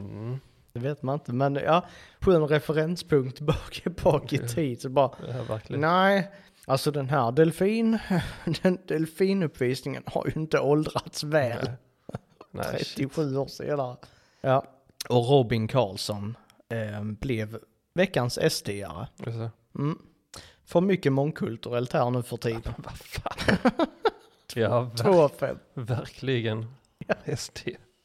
Mm. Det vet man inte, men ja, skön referenspunkt bak, bak i tid. Så bara, Det här verkligen. nej, alltså den här delfin, den delfinuppvisningen har ju inte åldrats väl. Nej, shit. 37 år senare. Ja. Och Robin Karlsson eh, blev veckans SD-are. Alltså, Mm. För mycket mångkulturellt här nu för tiden. Vad fan. Ja, ver- 2 av 5. verkligen. SD.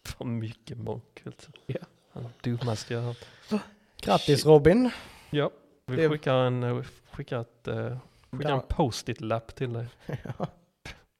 För mycket mångkultur. Ja. Han är Dummaste jag har hört. Grattis Shit. Robin. Ja, vi Det- skickar en, eh, skickar ett, eh, skickar en Där. post-it-lapp till dig. Ja.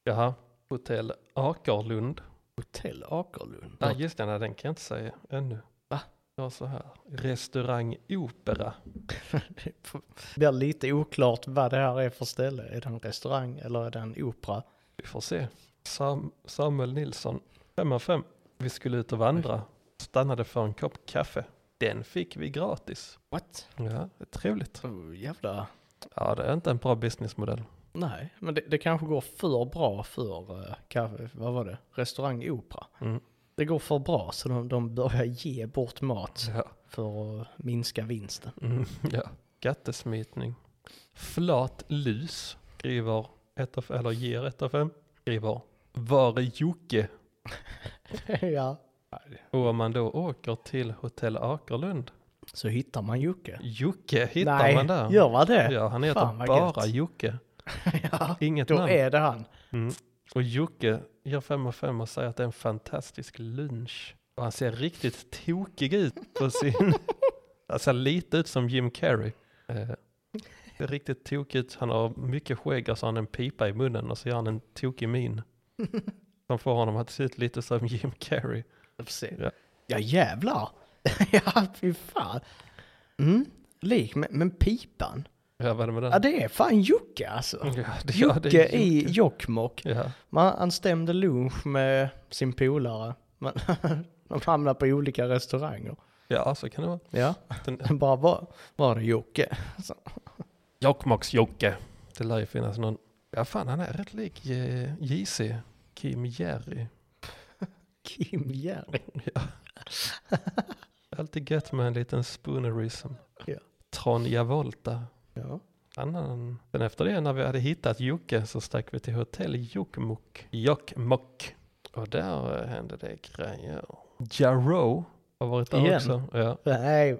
Jaha, Hotell Akerlund. Hotell Akerlund. Nej, just det, nej, den kan jag inte säga ännu. Va? Ja, så här. Restaurang Opera. Det blir lite oklart vad det här är för ställe. Är det en restaurang eller är det en opera? Vi får se. Sam, Samuel Nilsson, 5 av 5. Vi skulle ut och vandra. Stannade för en kopp kaffe. Den fick vi gratis. What? Ja, det är trevligt. Oh, jävla... Ja, det är inte en bra businessmodell. Nej, men det, det kanske går för bra för, eh, kaffe, vad var det, restaurang opera. Mm. Det går för bra så de, de börjar ge bort mat Ja. för att minska vinsten. Mm, ja. Gattesmitning. Flat lus skriver ett av, eller ger ett av fem. Skriver var är Jocke? ja. Och om man då åker till Hotell Akerlund. Så hittar man Jocke. Jocke hittar Nej, man där. gör man det? Ja, han heter Fan, vad bara gött. Jocke. ja. Inget Då namn. är det han. Mm. Och Jocke gör fem av fem och säger att det är en fantastisk lunch. Och han ser riktigt tokig ut på sin... Han ser lite ut som Jim Carrey. Eh, Det är riktigt tokigt. Han har mycket skägg och så har han en pipa i munnen och så gör han en tokig min. Som får honom att se ut lite som Jim Carrey. Ja, Ja. ja jävlar. ja, fy fan. Mm. Lik, men, men pipan. Ja, vad är det med den? Ja, det är fan Jocke alltså. Ja, det- ja, det är Jocke i Jokkmokk. Ja, Man- Han stämde lunch med sin polare. Men de hamnade på olika restauranger. ja, så kan det vara. Ja, Den- bara var, var det Jocke? Så. Jokkmokks-Jocke. Det lär ju finnas någon. Ja fan han är rätt lik eh, JC. Kim Jerry. Kim Jerry. Ja. Alltid gött med en liten spoonerism. Ja. Tronja Volta. Ja. Annan. Sen efter det när vi hade hittat Jocke så stack vi till hotell Jokkmokk. Jokkmokk. Och där eh, hände det grejer. Jarro har varit där Igen? också. Ja. Nej,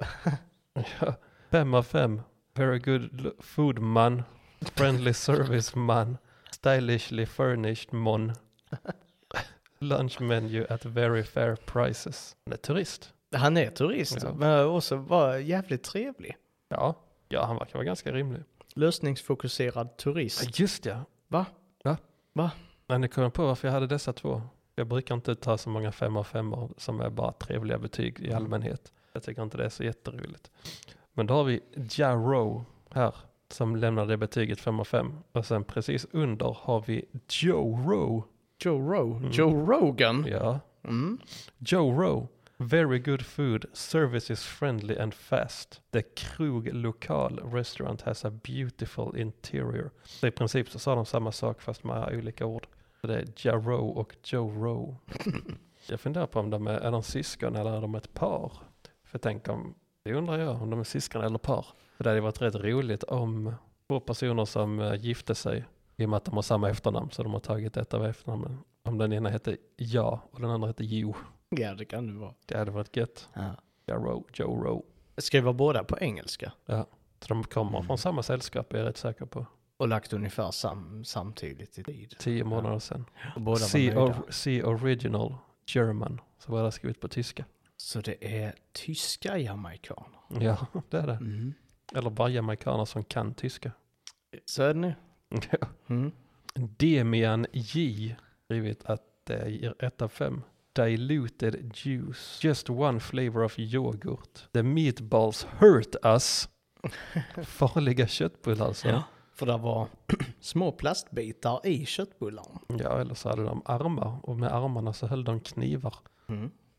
Ja. Fem av fem. Very good l- food man. Friendly service man. Stylishly furnished mon. Lunch menu at very fair prices. Han är turist. han är turist. Ja. Men också var jävligt trevlig. Ja, ja han verkar vara ganska rimlig. Lösningsfokuserad turist. Just ja. Va? Men nu kom jag på varför jag hade dessa två. Jag brukar inte ta så många fem av femmor som är bara trevliga betyg Mm. i allmänhet. Jag tycker inte det är så jätteroligt. Men då har vi Jarro här som lämnar det betyget fem av fem. Och sen precis under har vi Joe Rowe. Joe, Ro- Joe Rogan. Mm. Ja, Mm. Joe Rowe. Very good food, service is friendly and fast. The Krug Lokal Restaurant has a beautiful interior. Så i princip så sa de samma sak fast med olika ord. Så det är Jarro och Joe Rowe. jag funderar på om de är, är de syskon eller är de ett par? För tänk om, det undrar jag, om de är syskon eller par. För det hade varit rätt roligt om två personer som eh, gifte sig, i och med att de har samma efternamn, så de har tagit ett av efternamnen. Om den ena hette Ja och den andra hette Jo. Ja, det kan det vara. Det hade varit gött. Ja. Jarro, Joe Rowe. Skriva båda på engelska Så de Mm. kommer från samma sällskap är jag rätt säker på. och lagt ungefär sam- samtidigt i tid. Tio månader sedan. Och båda C, var nöjda. or, C original German. Så var det skrivit på tyska. Så det är tyska jamaikaner. Mm. Ja, det är det. Eller bara jamaikaner som kan tyska. Så är det nu. Ja. Mm. Demian J. Skrivit att det ger 1 av 5. Diluted juice. Just one flavor of yoghurt. The meatballs hurt us. Farliga köttbullar alltså. Ja. För det var små plastbitar i köttbullarna. Ja, eller så hade de armar och med armarna så höll de knivar.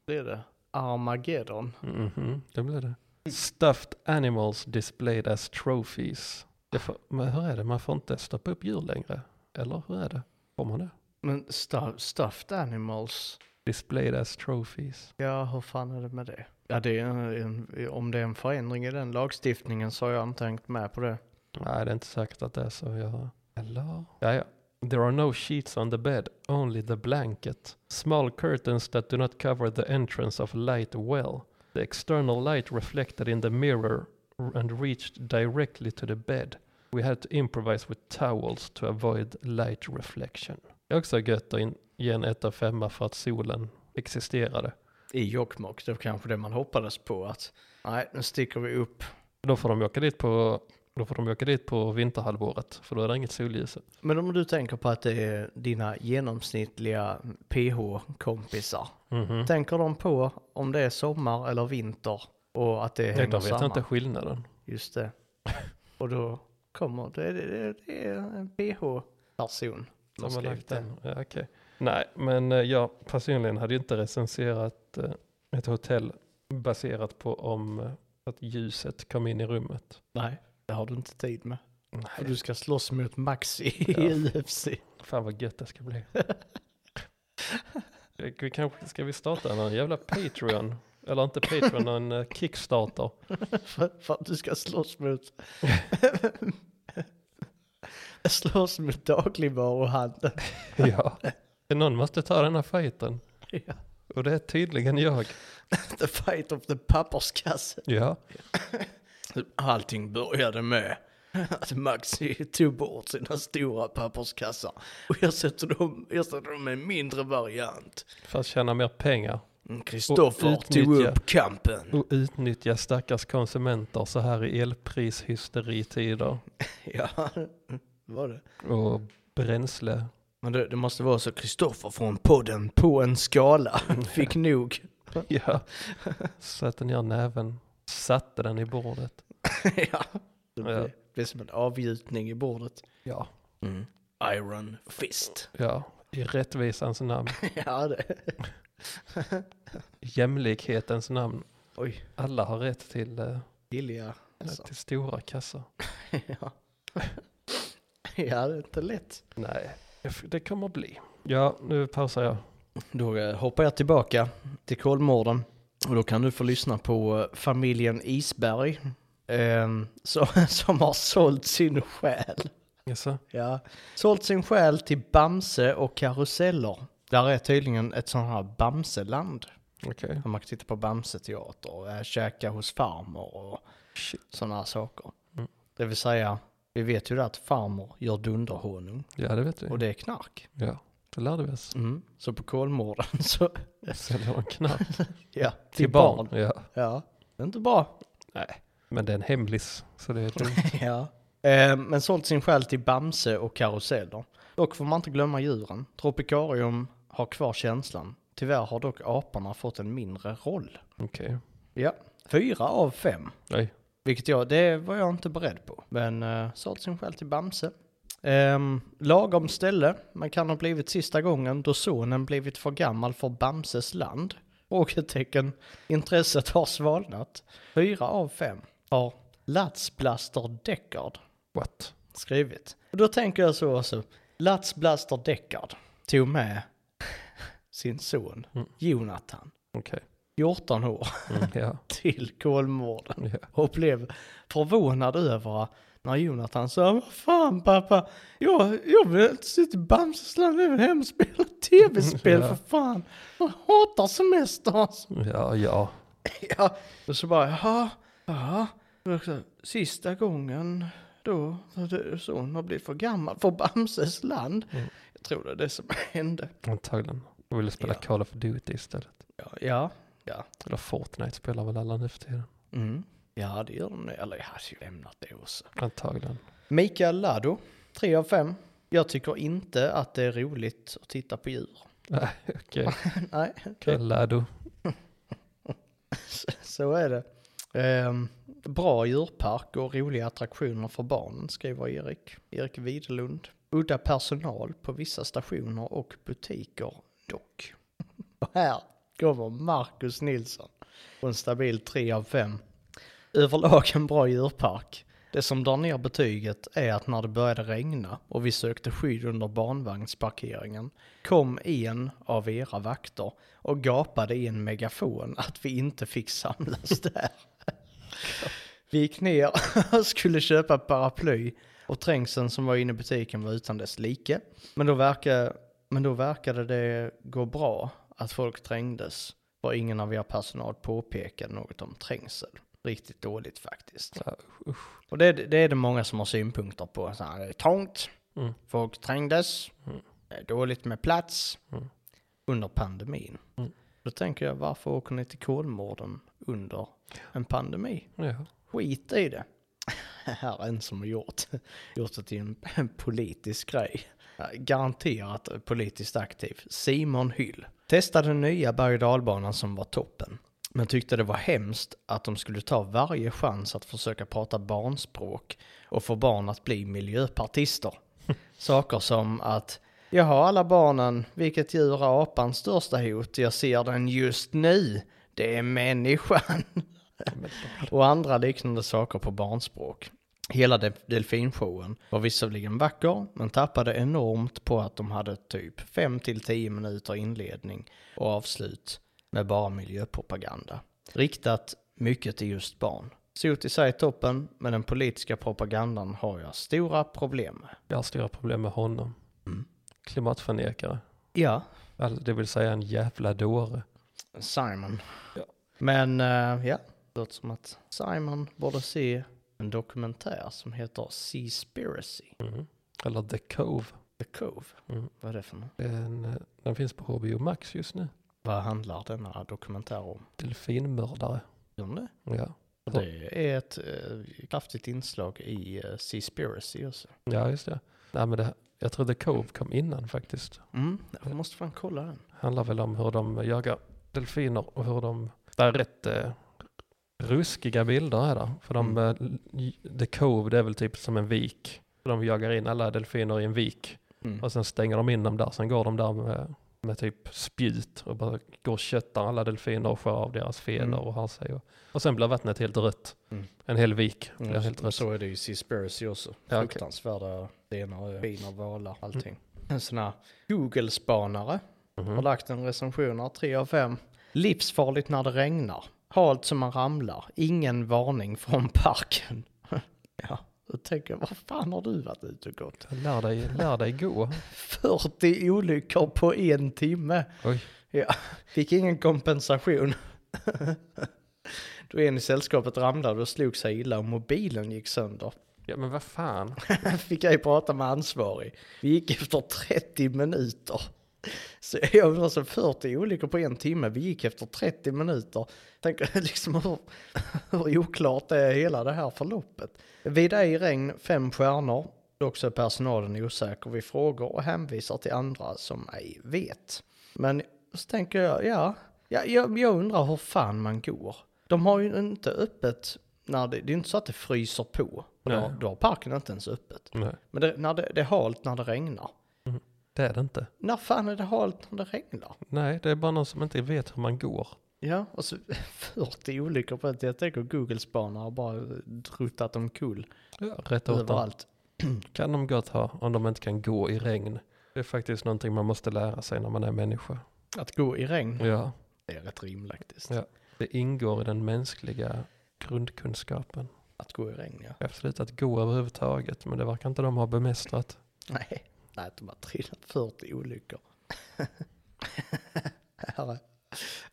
Det är det. Armageddon. Mhm, det blev det. Stuffed animals displayed as trophies. Det får, men hur är det, man får inte stoppa upp djur längre? Eller hur är det? Får man det? Men stu- stuffed animals. Displayed as trophies. Ja, hur fan är det med det? Ja, det är en, om det är en förändring i den lagstiftningen så har jag inte hängt med på det. Nej, det är inte säkert att det är så. Jag... Eller? Ja, ja. There are no sheets on the bed, only the blanket. Small curtains that do not cover the entrance of light well. The external light reflected in the mirror and reached directly to the bed. We had to improvise with towels to avoid light reflection. Det är också gött att in- ge en 1 av 5 för att solen existerade. I Jokkmokk, det var kanske det man hoppades på att nej, nu sticker vi upp. Då får de ju åka dit på, då får de ju åka dit på vinterhalvåret, för då är det inget solljus. Men om du tänker på att det är dina genomsnittliga PH-kompisar, Mhm. tänker de på om det är sommar eller vinter och att det Nej, hänger de vet samman? inte skillnaden. Just det. Och då kommer det, det, det, det är en PH-person. som De har skrivit lagt det. den. Ja, okej. Nej, men eh, jag personligen hade ju inte recenserat eh, ett hotell baserat på om eh, att ljuset kom in i rummet. Nej, det har du inte tid med. Och Nej, du ska slåss mot Maxi i Ja. UFC. fan vad gött det ska bli. Eh, Vi kanske ska vi starta en jävla Patreon? Eller inte Patreon, en eh, Kickstarter. För, för att du ska slåss mot... slåss mot dagligvaruhandeln. Ja. Någon måste ta den här fighten. Ja. Och det är tydligen jag. The fight of the papperskasse. Ja. Allting började med att Maxi tog bort sina stora papperskassar och ersatte dem, ersatte dem med en mindre variant. För att tjäna mer pengar. Kristoffer Och utnyttja- tog Mm. upp kampen. Och utnyttja stackars konsumenter så här i elprishysteritider. Ja, mm, var det. och bränsle. Men det, det måste vara så Kristoffer från podden på en skala Mm. fick nog. Ja. Satte ner näven, satte den i bordet. ja. Det blev, Ja. blev som en avgjutning i bordet. Ja. Mm. Iron fist. Ja, i rättvisans namn, ja, det. jämlikhetens namn. Oj, Alla har rätt till, eh, billiga. Alltså. till stora kassar. ja. ja, det är inte lätt. Nej, det kommer bli. Ja, nu pausar jag. Då eh, hoppar jag tillbaka till Kolmården. Och då kan du få lyssna på eh, familjen Isberg. ehm, som, som har sålt sin själ. Jaså? Ja. Sålt sin själ till Bamse och karuseller. Där är tydligen ett sånt här Bamseland. Okej. Där man kan titta på Bamse-teater och eh, käka hos farmor och Shit. sådana här saker. Mm. Det vill säga, vi vet ju det att farmor gör dunderhonung. Ja, det vet vi. Och det är knark. Ja, det lärde vi oss. Mm. Så på Kolmården så... Säljer de knark till, Ja, till, barn. barn. Ja. Ja, det är inte bra. Nej, men det är en hemlis, så det är dumt. ja. Eh, men sålt sin själ till Bamse och karuseller. Dock får man inte glömma djuren. Tropikarium har kvar känslan. Tyvärr har dock aporna fått en mindre roll. Okej. Ja, fyra av fem. Nej. Vilket jag, det var jag inte beredd på. Men eh, sålt sin själ till Bamse. Um, lagom ställe, men kan ha blivit sista gången då sonen blivit för gammal för Bamses land. Frågetecken. Intresset har svalnat. Fyra av fem har Latsblaster Deckard What? skrivit. Och då tänker jag så också. Latsblaster Deckard tog med sin son Jonathan, Okej. 14 år, Mm, ja. till Kolmården ja. och blev förvånad över när Jonathan sa Vad fan pappa, jag, jag vill inte sitta i Bamsesland, jag vill hem och spela tv-spel för fan. Jag hatar semester alltså. Ja, ja. Ja. Och så bara, jaha, jaha. Det var också Sista gången då sonen har blivit för gammal för Bamses land. Jag tror det är det som hände. Antagligen. Jag ville spela Ja. Call of Duty istället. Ja, ja. ja. Eller Fortnite spelar väl alla nu för tiden. Mm. Ja, det gör de nu. Eller jag hade ju lämnat det också. Antagligen. Mikael Lado, 3 av 5. Jag tycker inte att det är roligt att titta på djur. Nej, okej. Nej, Kallado. så är det. Ehm, bra djurpark och roliga attraktioner för barnen, skriver Erik. Erik Widerlund. Udda personal på vissa stationer och butiker, dock. Och här kommer Marcus Nilsson. På en stabil 3 av 5. Överlag en bra djurpark. Det som drar ner betyget är att när det började regna och vi sökte skydd under barnvagnsparkeringen kom en av era vakter och gapade i en megafon att vi inte fick samlas där. Vi gick ner och skulle köpa ett paraply och trängseln som var inne i butiken var utan dess like. Men då, verkade, men då verkade det gå bra att folk trängdes. Var ingen av er personal påpekade något om trängsel. Riktigt dåligt faktiskt. Ja, Och det, det är det många som har synpunkter på. Så här, det är trångt, Mm. folk trängdes, Mm. det är dåligt med plats Mm. under pandemin. Mm. Då tänker jag, varför åker ni till Kolmården under en pandemi? Ja. Skit i det. Här är en som har gjort, gjort det till en, en politisk grej. Garanterat politiskt aktiv. Simon Hyll. Testade den nya berg och dalbanan som var toppen. Men tyckte det var hemskt att de skulle ta varje chans att försöka prata barnspråk och få barn att bli miljöpartister. Saker som att jag har alla barnen, vilket djur är apans största hot? Jag ser den just nu. Det är människan och andra liknande saker på barnspråk. Hela de- delfinshowen var visserligen vacker, men tappade enormt på att de hade typ 5-10 minuter inledning och avslut med bara miljöpropaganda. Riktat mycket till just barn. Sot i sig är toppen, men den politiska propagandan har jag stora problem med. Jag har stora problem med honom. Mm. Klimatförnekare. Ja, Alltså, det vill säga en jävla dåre. Simon. Ja. Men eh, ja, det låter som att Simon borde se en dokumentär som heter Seaspiracy. Mm. Eller The Cove. The Cove? Mm. Vad är det för något? Den, eh, den finns på HBO Max just nu. Vad handlar denna dokumentär om? Delfinmördare. Gör den det? Ja. Ja. Det är ett eh, kraftigt inslag i eh, Seaspiracy också. ja, just det. Nej, men det jag tror The Cove kom innan faktiskt. Mm, jag måste fan kolla den. Handlar väl om hur de jagar delfiner och hur de... Det är rätt eh, ruskiga bilder är det. För de, Mm. eh, l- The Cove det är väl typ som en vik. De jagar in alla delfiner i en vik. Mm. Och sen stänger de in dem där, sen går de där med, med typ spjut och bara går och köttar alla delfiner och skär av deras fenor Mm. och har sig. Och, och sen blir vattnet helt rött. Mm. En hel vik blir Mm, helt så, rött. så är det ju i Seaspiracy också. Ja, okej. Mm. Fruktansvärda scener, bina, valar, allting. En sån här Google-spanare Mhm. har lagt en recension här, 3 av 5. Livsfarligt när det regnar. Halt som man ramlar. Ingen varning från parken. ja, då tänker jag, vad fan har du varit ute och gått? Lär, dig, lär dig gå. 40 olyckor på en timme. Oj. Ja, fick ingen kompensation. Då en i sällskapet ramlade och slog sig illa och mobilen gick sönder. Ja men vad fan. Fick ej prata med ansvarig. Vi gick efter 30 minuter. Så jag undrar, så 40 olyckor på en timme, vi gick efter 30 minuter. Tänk liksom hur, hur oklart är hela det här förloppet. Vid ej regn, fem stjärnor. Dock så är personalen osäker vid frågor och hänvisar till andra som ej vet. Men så tänker jag, ja, ja jag, jag undrar hur fan man går. De har ju inte öppet, när det, det är inte så att det fryser på. Då, Nej. då har parken inte ens öppet. Nej, Men det, när det, det är halt när det regnar. det är det inte. När fan är det halt när det regnar? Nej, det är bara någon som inte vet hur man går. Ja, och så 40 olyckor på ett. Jag tänker Google-spanare har bara druttat omkull Ja, rätt åt dem. överallt. Kan de gott ha om de inte kan gå i regn. Det är faktiskt någonting man måste lära sig när man är människa. Att gå i regn, Ja, det är rätt rimligt faktiskt. Ja. det ingår i den mänskliga grundkunskapen. Att gå i regn, ja. Absolut att gå överhuvudtaget, men det verkar inte de ha bemästrat. Nej, nej, att de har trillat 40 olyckor. Här är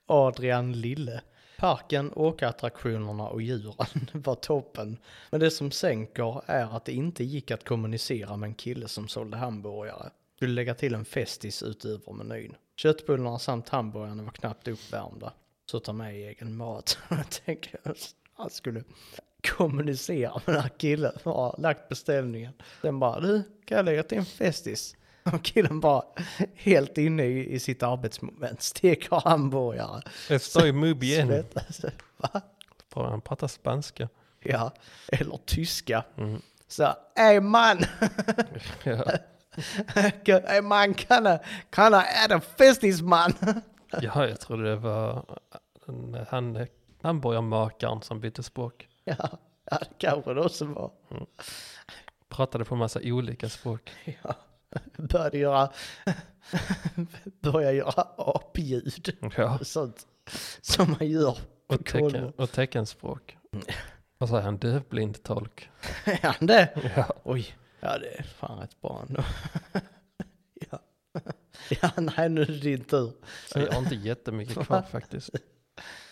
Adrian Lille. Parken, åkattraktionerna och djuren var toppen. Men det som sänker är att det inte gick att kommunicera med en kille som sålde hamburgare. Skulle lägga till en festis utöver menyn. Köttbullarna samt hamburgarna var knappt uppvärmda. Så ta med egen mat. Jag tänker att han skulle kommunicera med den här killen som har lagt beställningen. Den bara, du, kan jag lägga till en festis? Och killen bara, helt inne i, i sitt arbetsmoment, steker hamburgare. Estoy muy bien. Svettas. Va? Bara han pratar spanska. Ja, eller tyska. Mm. Så, ey man, Ja. ey man, kan jag, kan jag äta festis man? ja, jag eh, trodde det var han, han hamburgarmakaren som bytte språk. Ja, Ja, det kanske det också var. Pratade på massa olika språk. Ja. Började göra, började göra apljud Ja, och sånt som man gör. och, tecken, Kolmo. och teckenspråk. Vad säger han? Dövblind tolk. Är han det? Ja. Oj, ja det är fan rätt bra ändå. ja. ja, nej nu är det din tur. Så jag har inte jättemycket kvar faktiskt.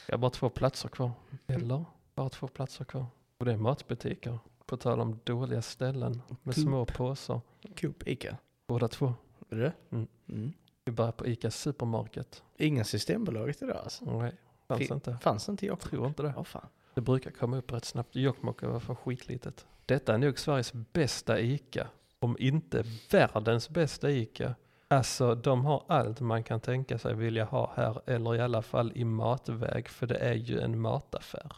Jag har bara två platser kvar. Eller bara två platser kvar. Och det är matbutiker. På tal om dåliga ställen med Coop. små påsar. Coop, Ica. Båda två. Är det? Mm. Mm. Vi börjar på ICA Supermarket. Inga Systembolaget idag alltså. Nej, fanns Fi- inte. Fanns inte jag. Jag tror inte det. Ja, fan. Det brukar komma upp rätt snabbt. Jokkmokk var för skitlitet. Detta är nog Sveriges bästa ICA. Om inte världens bästa ICA. Alltså de har allt man kan tänka sig vilja ha här. Eller i alla fall i matväg. För det är ju en mataffär.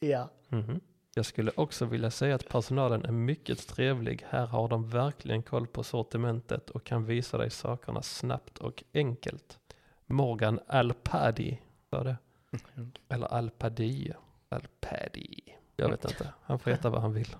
Ja. Mhm. Jag skulle också vilja säga att personalen är mycket trevlig. Här har de verkligen koll på sortimentet och kan visa dig sakerna snabbt och enkelt. Morgan Alpadi sa det. Mm. Eller Alpadi. Alpadi. Jag vet inte. Han får heta vad han vill.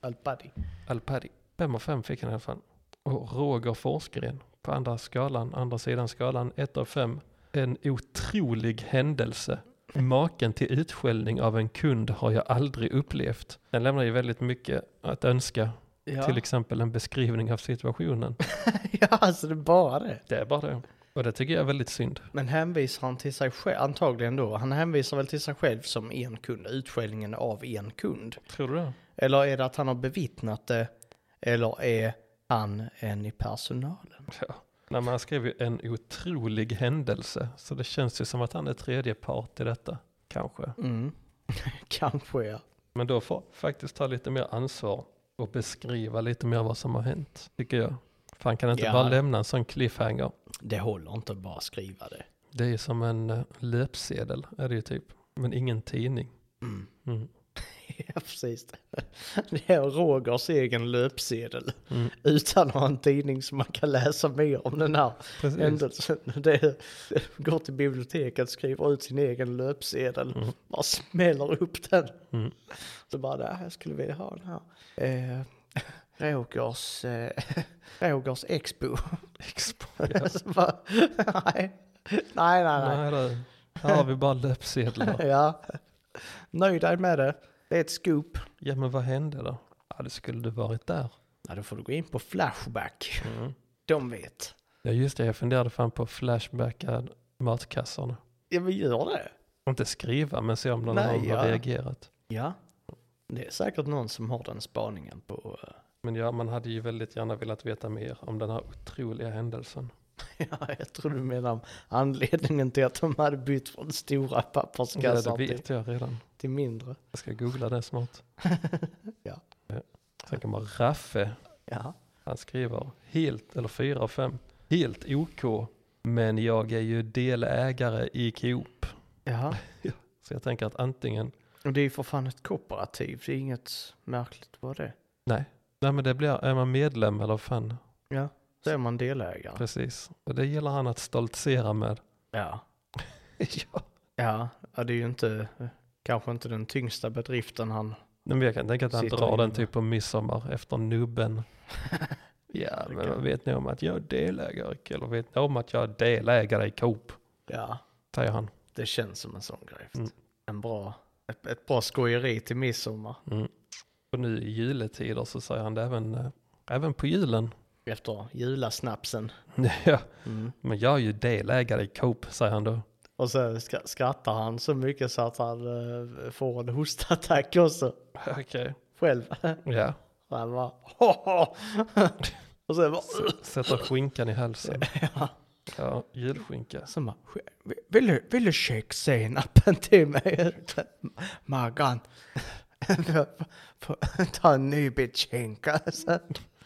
Alpadi. Alpadi. Fem av fem fick han i alla fall. Och Roger Forsgren på andra skalan, andra sidan skalan, ett av fem. En otrolig händelse. Maken till utskällning av en kund har jag aldrig upplevt. Den lämnar ju väldigt mycket att önska. Ja. Till exempel en beskrivning av situationen. ja, alltså det är bara det. Det är bara det. Och det tycker jag är väldigt synd. Men hänvisar han till sig själv, antagligen då, han hänvisar väl till sig själv som en kund, utskällningen av en kund. Tror du det? Eller är det att han har bevittnat det, eller är han en i personalen? Ja. Nej, men han skrev ju en otrolig händelse. Så det känns ju som att han är tredje part i detta. Kanske. Mm. Kanske ja. Men då får faktiskt ta lite mer ansvar och beskriva lite mer vad som har hänt, tycker jag. För han kan inte Ja. bara lämna en sån cliffhanger. Det håller inte att bara skriva det. Det är ju som en eh, löpsedel, är det ju typ. Men ingen tidning. Mm. Mm. Ja, precis. Det är Rogers egen löpsedel. Mm. Utan att ha en tidning som man kan läsa mer om den här Precis. händelsen. Det är, går till biblioteket, skriver ut sin egen löpsedel, Mm. bara smäller upp den. Mm. Så bara, där, jag skulle vilja ha den här. Eh, Rogers, eh, Rogers Expo. Expo. Ja. Så bara, nej, nej, nej. Nej, det, här har vi bara löpsedlar. nej. Ja. Nöj dig med det. Det är ett scoop. Ja, men vad hände då? Ja, det skulle du varit där. Ja, då får du gå in på Flashback. Mm. De vet. Ja, just det. Jag funderade fan på flashbackad matkassorna. Ja, men gör det. Inte skriva, men se om någon Nej, annan har ja. reagerat. Ja. Det är säkert någon som har den spaningen på... eh, Men ja, man hade ju väldigt gärna velat veta mer om den här otroliga händelsen. Ja, jag tror du menar anledningen till att de hade bytt från stora papperskassar ja, det till, vet jag redan. till mindre. Jag ska googla det snart. Ja. Sen kommer Raffe. Ja. Han skriver helt, eller fyra av fem, helt OK. Men jag är ju delägare i Coop. ja. Så jag tänker att antingen, Och det är ju för fan ett kooperativ, det är inget märkligt vad det är. nej, nej men det blir, är man medlem eller fan, Ja. Så är man delägare. precis. Och det gillar han att stoltsera med. Ja. ja. Ja, ja det är ju inte, kanske inte den tyngsta bedriften han... Nej, Men jag kan tänka att han Sitter drar inne. den typ på midsommar efter nubben. Ja, det Men kan- vad vet ni om att jag är delägare, eller vet ni om att jag är delägare i Coop? Ja, Säger han. det känns som en sån grej. Mm. En bra, ett, ett bra skojeri till midsommar. Mm. Och nu i juletider så säger han det även, eh, även på julen. Efter julasnapsen. ja, Mm. men jag är ju delägare i Coop, säger han då. Och så skra- skrattar han så mycket så att han eh, får en hostattack också. Okej. Själv. Ja, Och han bara "Haha." Och sen bara... sätter skinkan i halsen. Ja. Ja, julskinka. Så bara, "Sk- vill du, vill du checka senapen till mig? Maggan. Får- får Ta en ny bit skinka. Så-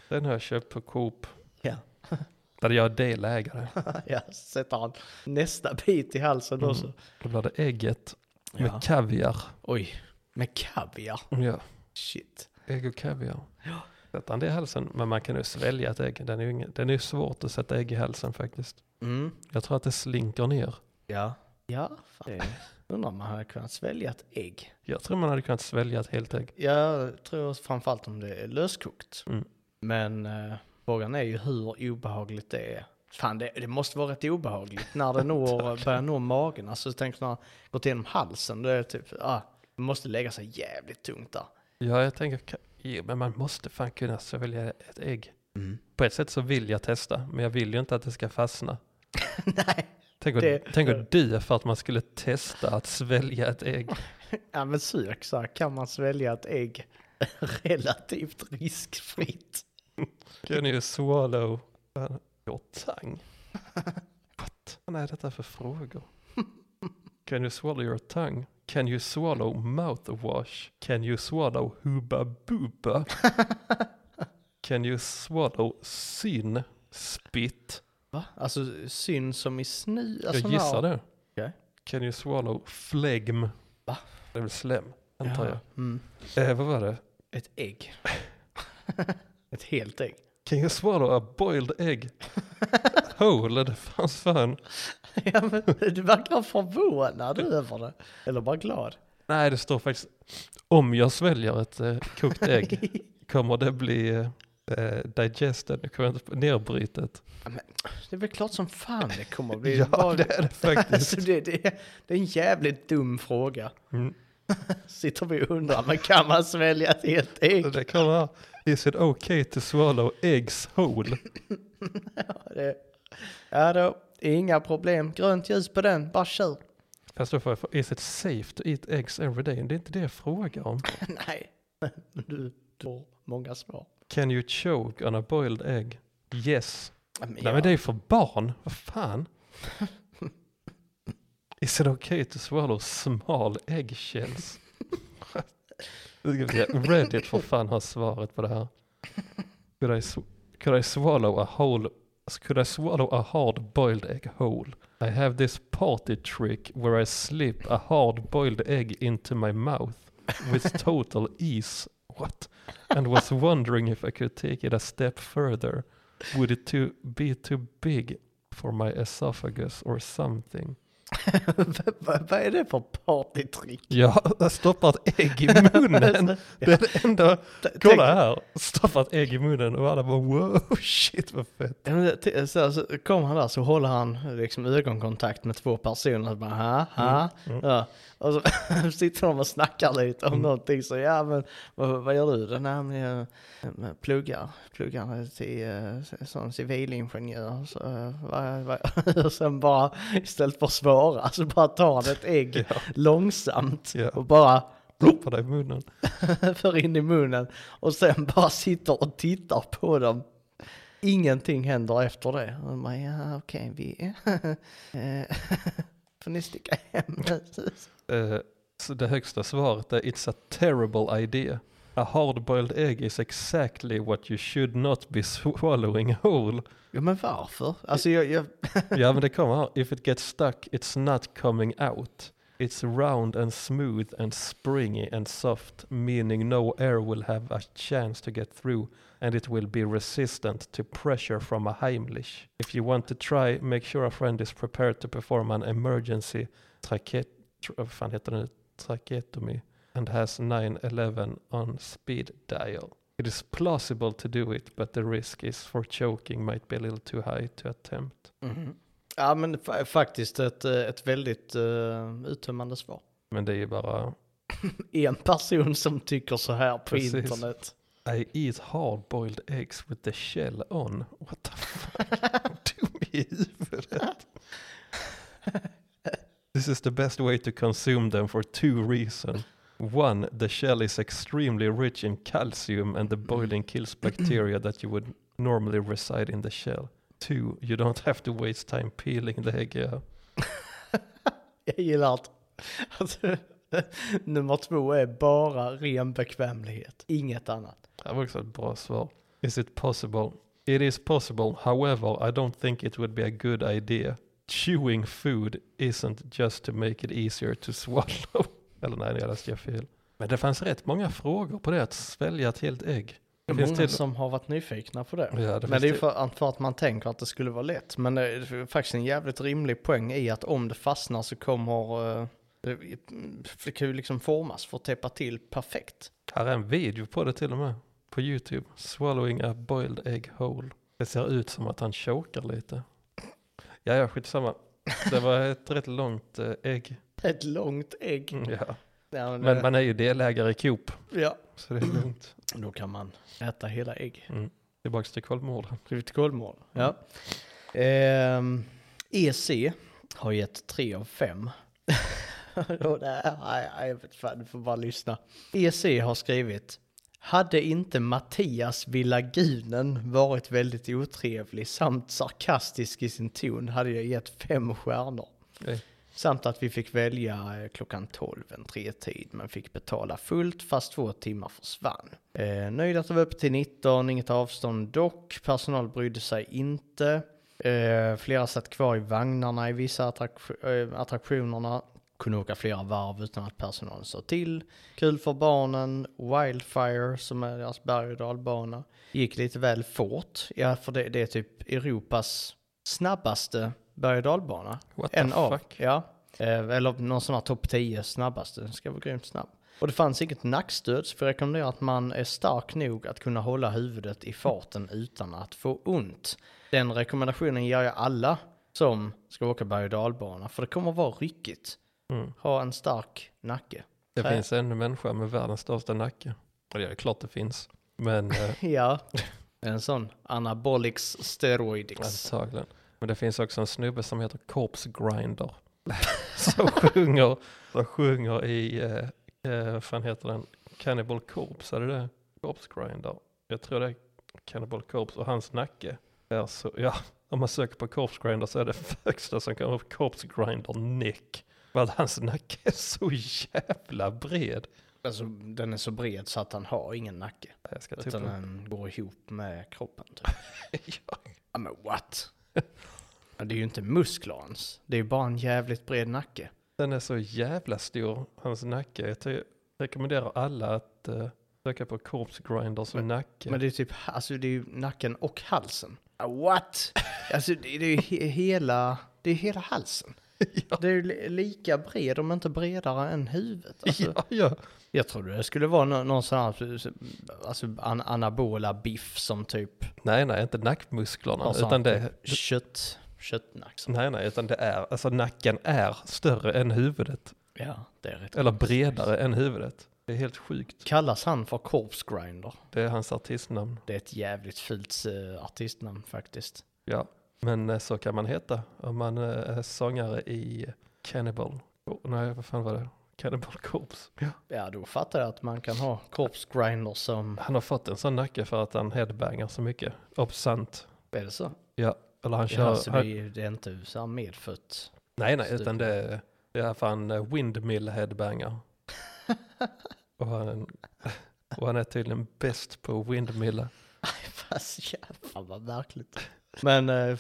Den har jag köpt på Coop, Ja. där jag är delägare. ja, så sätter han nästa bit i halsen också. Då blir det ägget med Ja. kaviar. Oj. Med kaviar. Ja, Shit. ägg och kaviar. Sätter han det i halsen, men man kan ju svälja ett ägg. Den är ju ingen- den är ju svårt att sätta ägg i halsen faktiskt. Mm. Jag tror att det slinker ner. Ja. Ja. Fan. Undrar om man hade kunnat svälja ett ägg. Jag tror man hade kunnat svälja ett helt ägg. Jag tror framförallt om det är löskokt. Mm. Men eh, frågan är ju hur obehagligt det är. Fan, det, det måste vara rätt obehagligt när det når, börjar nå magen. Alltså, tänk när det gått igenom halsen. Det är typ, ah, det måste lägga sig jävligt tungt där. Ja, jag tänker, ka- ja, men man måste fan kunna svälja ett ägg. Mm. På ett sätt så vill jag testa, men jag vill ju inte att det ska fastna. Nej, Tänk att, Det- tänk att dö för att man skulle testa att svälja ett ägg. ja, men sök så här, kan man svälja ett ägg relativt riskfritt? Can you swallow an- your tongue? What? Vad är detta för frågor? Can you swallow your tongue? Can you swallow mouthwash? Can you swallow Hubba Bubba? Can you swallow syn? Spit? Va? Alltså syn som i sny? Alltså, jag gissar det. Okej. Can you swallow flegm? Va? Det är väl slem, antar Mm. jag. Eh, vad var det? Ett ägg. ett helt ägg. Can you swallow a boiled egg? Hole, det fanns fan. ja, men du verkar förvånad över det. Eller bara glad. Nej, det står faktiskt om jag sväljer ett eh, kokt ägg kommer det bli eh, eh, digested, nu kommer jag inte på, nedbrytet. Det är väl klart som fan det kommer att bli. ja, bara... det är det faktiskt. Alltså, det, det, det är en jävligt dum fråga. Mm. Sitter vi och undrar, men kan man svälja ett helt ägg? Det kommer här. Is it okay to swallow eggs whole? Det... Ja då, inga problem. Grönt ljus på den, bara kör. Fast då får jag få, is it safe to eat eggs every day? Det är inte det jag frågar om. Nej, du du får många svar. Can you choke on a boiled egg? Yes. Ja, men Nej ja. men det är ju för barn, vad fan? Is it okay to swallow small eggshells? Nu ska vi se, Reddit för fan har svaret på det här. Could I, sw- could I swallow a whole Could I swallow a hard boiled egg whole? I have this party trick where I slip a hard boiled egg into my mouth with total ease. What? And was wondering if I could take it a step further. Would it too, be too big for my esophagus or something? Vad- vad- Vad är det för partytrick? Alltså, Ja, jag stoppar ett ägg i munnen. Det är det enda. Kolla här. Stoppar ett ägg i munnen och alla bara wow, shit vad fett. Ja, men det- t- Så, så kommer han där så håller han liksom ögonkontakt med två personer. Och bara, ha, ha. Ja. Och så sitter de och snackar lite om någonting. Så ja, men vad, vad gör du? Den här med, med pluggar. Pluggar till eh, sån civilingenjör. Så, eh, vad, vad? Och sen bara istället för att svara så bara tar han ett ägg långsamt Ja. och bara Stoppar det i munnen. för in i munnen och sen bara sitter och tittar på dem. Ingenting händer efter det. Och man bara, ja okej, vi... eh, Får ni sticka hem nu? Eh, så det högsta svaret är It's a terrible idea. A hard-boiled egg is exactly what you should not be swallowing whole. Ja men varför? Alltså jag... jag ja men det kommer här. If it gets stuck it's not coming out. It's round and smooth and springy and soft meaning no air will have a chance to get through and it will be resistant to pressure from a Heimlich. If you want to try make sure a friend is prepared to perform an emergency traket... Tra, vad fan heter det nu? Tracheotomy and has 9-11 on speed dial. It is plausible to do it but the risk is for choking might be a little too high to attempt. mm. Ja men fa- faktiskt ett, eh, ett väldigt uh, uttömmande svar. Men det är ju bara En person som tycker så här på Precis. internet. I eat hard boiled eggs with the shell on. What the fuck? Dum i huvudet. This is the best way to consume them for two reasons. One, the shell is extremely rich in calcium and the boiling kills bacteria that you would normally reside in the shell. Two, you don't have to waste time peeling the egg. Yeah. Jag gillar att... att nummer två är bara ren bekvämlighet. Inget annat. Det var också ett bra svar. Is it possible? It is possible, however I don't think it would be a good idea. Chewing food isn't just to make it easier to swallow. Eller nej, jag läste jag fel. Men det fanns rätt många frågor på det att svälja ett helt ägg. Det Det är finns många till- som har varit nyfikna på det. Ja, det men finns det är till- ju för, för att man tänker att det skulle vara lätt. Men det är faktiskt en jävligt rimlig poäng i att om det fastnar så kommer eh, Det, det kan ju liksom formas för att täppa till perfekt. Här är en video på det till och med. På YouTube. Swallowing a boiled egg whole. Det ser ut som att han chokar lite. Ja, ja, skitsamma. Det var ett rätt långt eh, ägg. Ett långt ägg. Mm, Ja. Ja, men, Men det- man är ju delägare i Coop. ja, Så det är lugnt. då kan man äta hela ägg. Mm. Tillbaks till Kolmården. Blivit kolmål. Ja. Ehm, EC har gett 3 av 5. Och det här, nej, nej, jag vet fan, du får bara lyssna. EC har skrivit hade inte Mattias Villagunen varit väldigt otrevlig samt sarkastisk i sin ton hade jag gett fem stjärnor. Okej. Samt att vi fick välja eh, klockan 12, en tre-tid, men fick betala fullt fast två timmar försvann. Eh, nöjd att det var uppe till 19, inget avstånd dock, personal brydde sig inte. Eh, flera satt kvar i vagnarna i vissa attraktion, eh, attraktionerna, kunde åka flera varv utan att personalen sa till. Kul för barnen, Wildfire som är deras berg och dalbana, gick lite väl fort, ja för det, det är typ Europas snabbaste berg och dalbana. What En the av, fuck? ja. Eh, Eller någon sån här topp 10 snabbaste. Den ska vara grymt snabb. Och det fanns inget nackstöd, så vi rekommenderar att man är stark nog att kunna hålla huvudet i farten utan att få ont. Den rekommendationen ger jag alla som ska åka berg och dalbana, för det kommer vara ryckigt. Mm. Ha en stark nacke. Det Nej. finns en människa med världens största nacke. Och det är klart det finns. Men eh, Ja, en sån. Anabolics steroidics. antagligen. Men det finns också en snubbe som heter Corpse Grinder. som, sjunger, som sjunger i, eh, eh, vad fan heter den? Cannibal Corpse, är det det? Corpse Grinder. Jag tror det är Cannibal Corpse och hans nacke är så, ja, om man söker på Corpse Grinder så är det första som kommer upp Corpse Grinder Nick. För att hans nacke är så jävla bred. Alltså, den är så bred så att han har ingen nacke. Jag ska typ Utan den går ihop med kroppen. Typ. ja, Ja, men what? Ja, det är ju inte muskler ens. Det är ju bara en jävligt bred nacke. Den är så jävla stor, hans nacke. Jag ty- rekommenderar alla att eh, söka på Corpse Grinder som nacke. Men det är typ, alltså det är ju nacken och halsen. Ja, what? Alltså det, det är ju he- hela, det är hela halsen. Det är ju li- lika bred, om inte bredare än huvudet. Alltså, ja, ja. Jag trodde det skulle vara nå- någon sån här, alltså an anabola biff som typ, Nej, nej, inte nackmusklerna. någon sån utan, här det, typ kött, köttnack. Som, nej, nej, utan det är, alltså nacken är större än huvudet. ja, det är rätt. Mm. Eller bredare än huvudet. Det är helt sjukt. Kallas han för corpse grinder? Det är hans artistnamn. Det är ett jävligt fult eh, artistnamn faktiskt. Ja, men eh, så kan man heta om man eh, är sångare i Cannibal. Oh, nej, vad fan var det? Cannibal Corpse. Ja. Ja, då fattar jag att man kan ha corpse grinder som... Han har fått en sån nacke för att han headbangar så mycket. Obsant. Är det så? Ja, eller han Ja, kör... så det är, han, ju- det är inte så här medfött. nej, nej, Stup. utan det är, det är fan eh, windmill headbanger. och, han, och han är tydligen bäst på windmill. Fast jävlar vad märkligt. Men eh,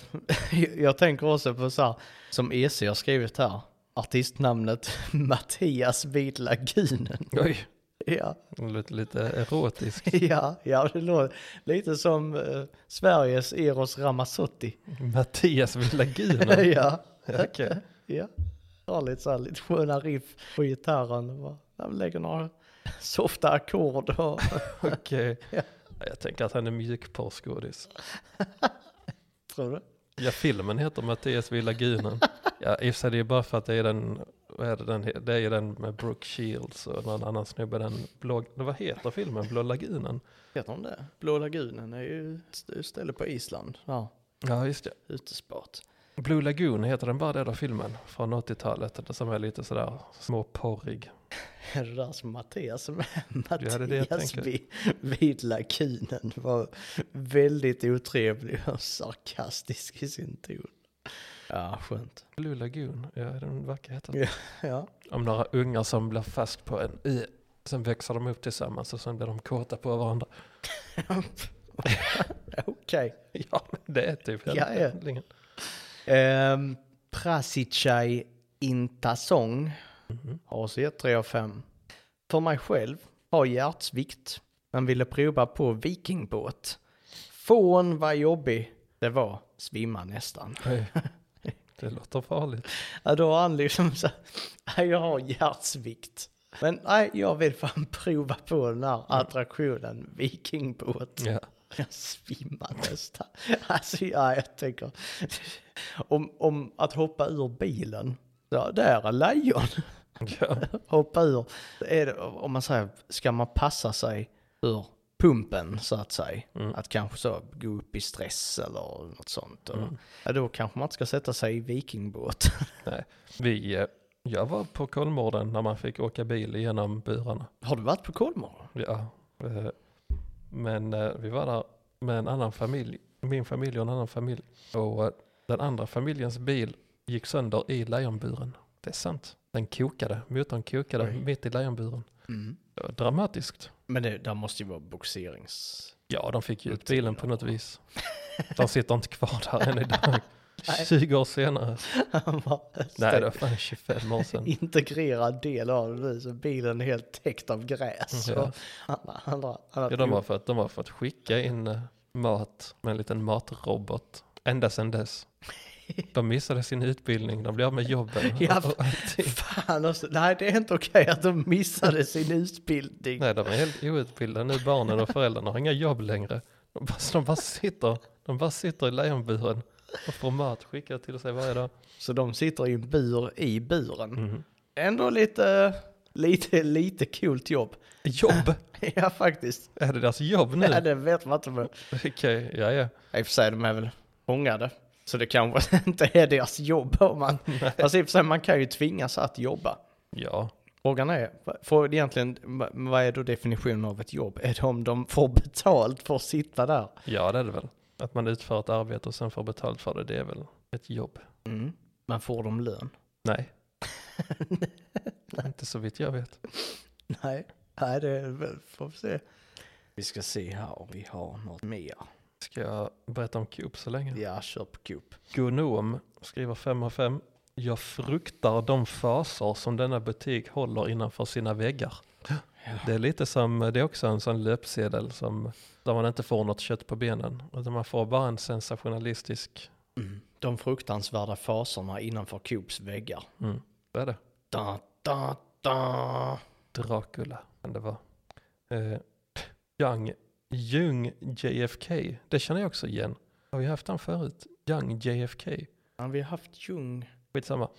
jag tänker också på så här, som EC har skrivit här, artistnamnet Mattias Vidlagunen. Oj, Ja, lite, lite erotisk. ja, ja, det låter lite som eh, Sveriges Eros Ramazzotti. Mattias vid lagunen. ja, Okej. ja. Har lite så här, lite sköna riff på gitarren och bara, ja, lägger några softa ackord och Okej. Ja. Jag tänker att han är mjukporrskådis. tror du? Ja, filmen heter Mattias vid lagunen. Ja, i och för sig, det är bara för att det är den, vad är det, den, he- det är ju den med Brooke Shields och någon annan snubbe, den blå, vad heter filmen, Blå lagunen? Heter de det? Blå lagunen är ju ett ställe på Island. Ja. Ja, just det. Utesport. Blue Lagoon heter den bara där filmen från 80-talet, det som är lite sådär småporrig. Är det där som Mattias som det är det jag Mattias tänker. vid, vid lakunen var väldigt otrevlig och sarkastisk i sin ton. Ja, skönt. Blue Lagoon, ja den verkar heta. Ja. Ja, Om några ungar som blir fast på en ö, sen växer de upp tillsammans och sen blir de kåta på varandra. okej. Ja, men det är typ hela Ja, ja. handlingen. Ehm, Prasichai Intasong har också gett 3 av 5. För mig själv har hjärtsvikt, men ville prova på vikingbåt. Fån vad jobbig det var, svimma nästan. Oj. Det låter farligt. Ja, då har han liksom så här, "Nej, jag har hjärtsvikt. Men nej, jag vill fan prova på den här attraktionen, vikingbåt. Ja. Jag svimmar nästan. Alltså ja, jag tänker, om, om att hoppa ur bilen, ja, där är lejon. Ja. Hoppa ur, är det, om man säger, ska man passa sig ur pumpen så att säga? Att kanske så gå upp i stress eller något sånt. eller- Ja, då kanske man inte ska sätta sig i vikingbåt. Nej. Vi, eh, jag var på Kolmården när man fick åka bil genom burarna. Har du varit på Kolmården? Ja. eh, Men eh, vi var där med en annan familj. Min familj och en annan familj. Och eh, den andra familjens bil gick sönder i lejonburen. Det är sant. Den kokade. Motorn kokade Oj. mitt i lejonburen. Mm. Det var dramatiskt. Men det där måste ju vara boxerings... Ja, de fick ju ut Upptäckte bilen på något vis. De sitter inte kvar där än idag. 20 år senare. Han var Nej, det var fan 25 år sedan. integrerad del av det nu, så bilen är helt täckt av gräs. Mm, Ja. Och han, han, har- han, har- Ja, de var för att, de var för att skicka in eh, mat med en liten matrobot. Ända sedan dess. De missade sin utbildning, de blev av med jobben. Ja, och- och allting. Fan också, nej det är inte okej att de missade sin utbildning. Nej, de är helt outbildade nu, barnen och föräldrarna har inga jobb längre. De bara, så de bara, sitter, de bara sitter i lejonburen och får mat skickad till sig varje dag. Så de sitter i en bur i buren. Mhm. Ändå lite, lite, lite coolt jobb. Jobb! ja faktiskt, Är det deras jobb nu? ja, det vet man inte. men- Okej, ja ja. I och för sig, de är väl fångade. Så det kanske inte är deras jobb. Om man, alltså i och för sig, man kan ju tvingas att jobba. Ja, Frågan är, för egentligen, va- vad är då definitionen av ett jobb? Är det om de får betalt för att sitta där? ja det är det väl. Att man utför ett arbete och sen får betalt för det, det är väl ett jobb. Mm. Men får de lön? Nej. Inte så vitt jag vet. Nej, nej det är väl- får vi se. Vi ska se här om vi har något mer. Ska jag berätta om Coop så länge? Ja, kör på Coop. Gonom skriver 5 av 5. Jag fruktar de faser som denna butik håller innanför sina väggar. Det är lite som, det är också en sån löpsedel som, där man inte får något kött på benen. Utan man får bara en sensationalistisk, mm. De fruktansvärda faserna innanför Coops väggar. mm, vad är det? Da, da, da. Dracula kan det vara. Eh, Young, Jung JFK, det känner jag också igen. Har vi haft han förut? Young JFK. Ja, vi har haft Jung. Skitsamma.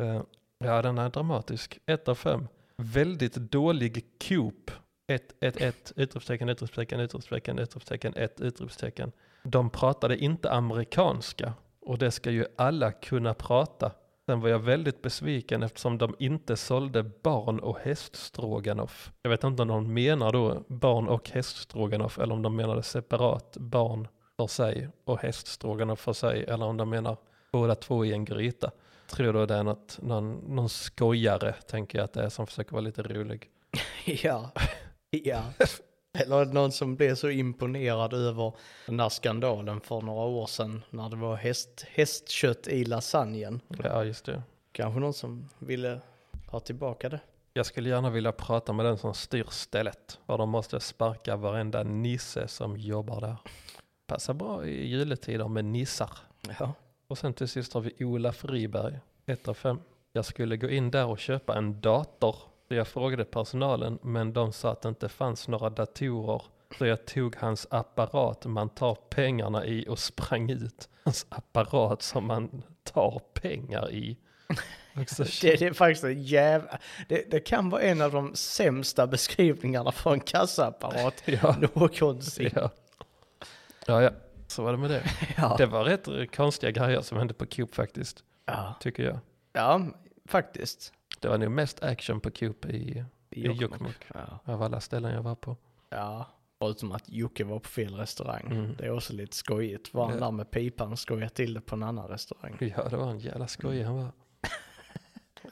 Eh, ja, den är dramatisk. 1 av 5. Väldigt dålig Coop. 1, 1, 1, utropstecken, utropstecken, utropstecken, utropstecken, 1, utropstecken. De pratade inte amerikanska och det ska ju alla kunna prata. Sen var jag väldigt besviken eftersom de inte sålde barn och häststroganoff. Jag vet inte om de menar då barn och häststroganoff eller om de menade separat barn för sig och häststroganoff för sig eller om de menar båda två i en gryta. Tror då det är något, någon, någon skojare, tänker jag att det är, som försöker vara lite rolig. Ja, ja. Eller någon som blev så imponerad över den där skandalen för några år sedan när det var häst, hästkött i lasagnen. Ja, just det. Kanske någon som ville ha tillbaka det. Jag skulle gärna vilja prata med den som styr stället, för de måste sparka varenda nisse som jobbar där. Passar bra i juletider med nissar. Ja. Och sen till sist har vi Ola Friberg, 1 av 5. Jag skulle gå in där och köpa en dator. Så jag frågade personalen, men de sa att det inte fanns några datorer. Så jag tog hans apparat man tar pengarna i och sprang ut. Hans apparat som man tar pengar i. Och så- Det, det är faktiskt en jävla... Det, det kan vara en av de sämsta beskrivningarna för en kassaapparat ja, någonsin. ja. ja, ja, så var det med det. Ja. Det var rätt eh, konstiga grejer som hände på Coop faktiskt, Ja. tycker jag. ja, faktiskt. Det var nog mest action på Coop i, i Jokkmokk. Ja. av alla ställen jag var på. ja, förutom att Jocke var på fel restaurang. Mm. Det är också lite skojigt. Var han Ja. där med pipan och skojade till det på en annan restaurang? Ja, det var en jävla Mm. skoj han var.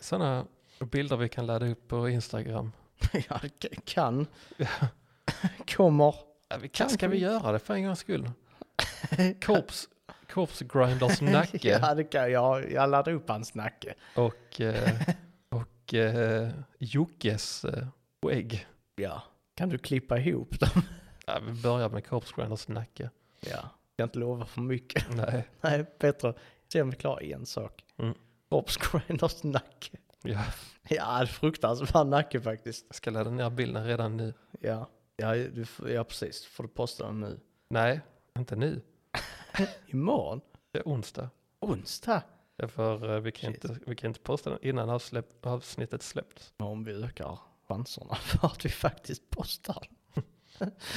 Sådana bilder vi kan ladda upp på Instagram. ja, k- kan. Kommer. Ja, vi kan, ska vi göra det för en gångs skull? Korps, korpsgrinders nacke Ja, det kan jag. Jag laddar upp hans nacke. och, eh, och eh, Jockes eh, skägg. Ja. Kan du klippa ihop dem? Ja, vi börjar med korpsgrinders nacke. Ja. Jag kan inte lova för mycket. Nej, Nej, bättre Se om vi klarar en sak. Mm. Rob Screeners nacke. Ja, Ja, det är fruktansvärd nacke faktiskt. jag ska ladda ner bilden redan nu. Ja, ja, du, f- ja precis. Får du posta den nu? Nej, inte nu. Imorgon? Det är onsdag. Onsdag? Det är För eh, vi kan, Shit. inte, vi kan inte posta den innan avsläpp, avsnittet släppts. Om vi ökar chanserna för att vi faktiskt postar.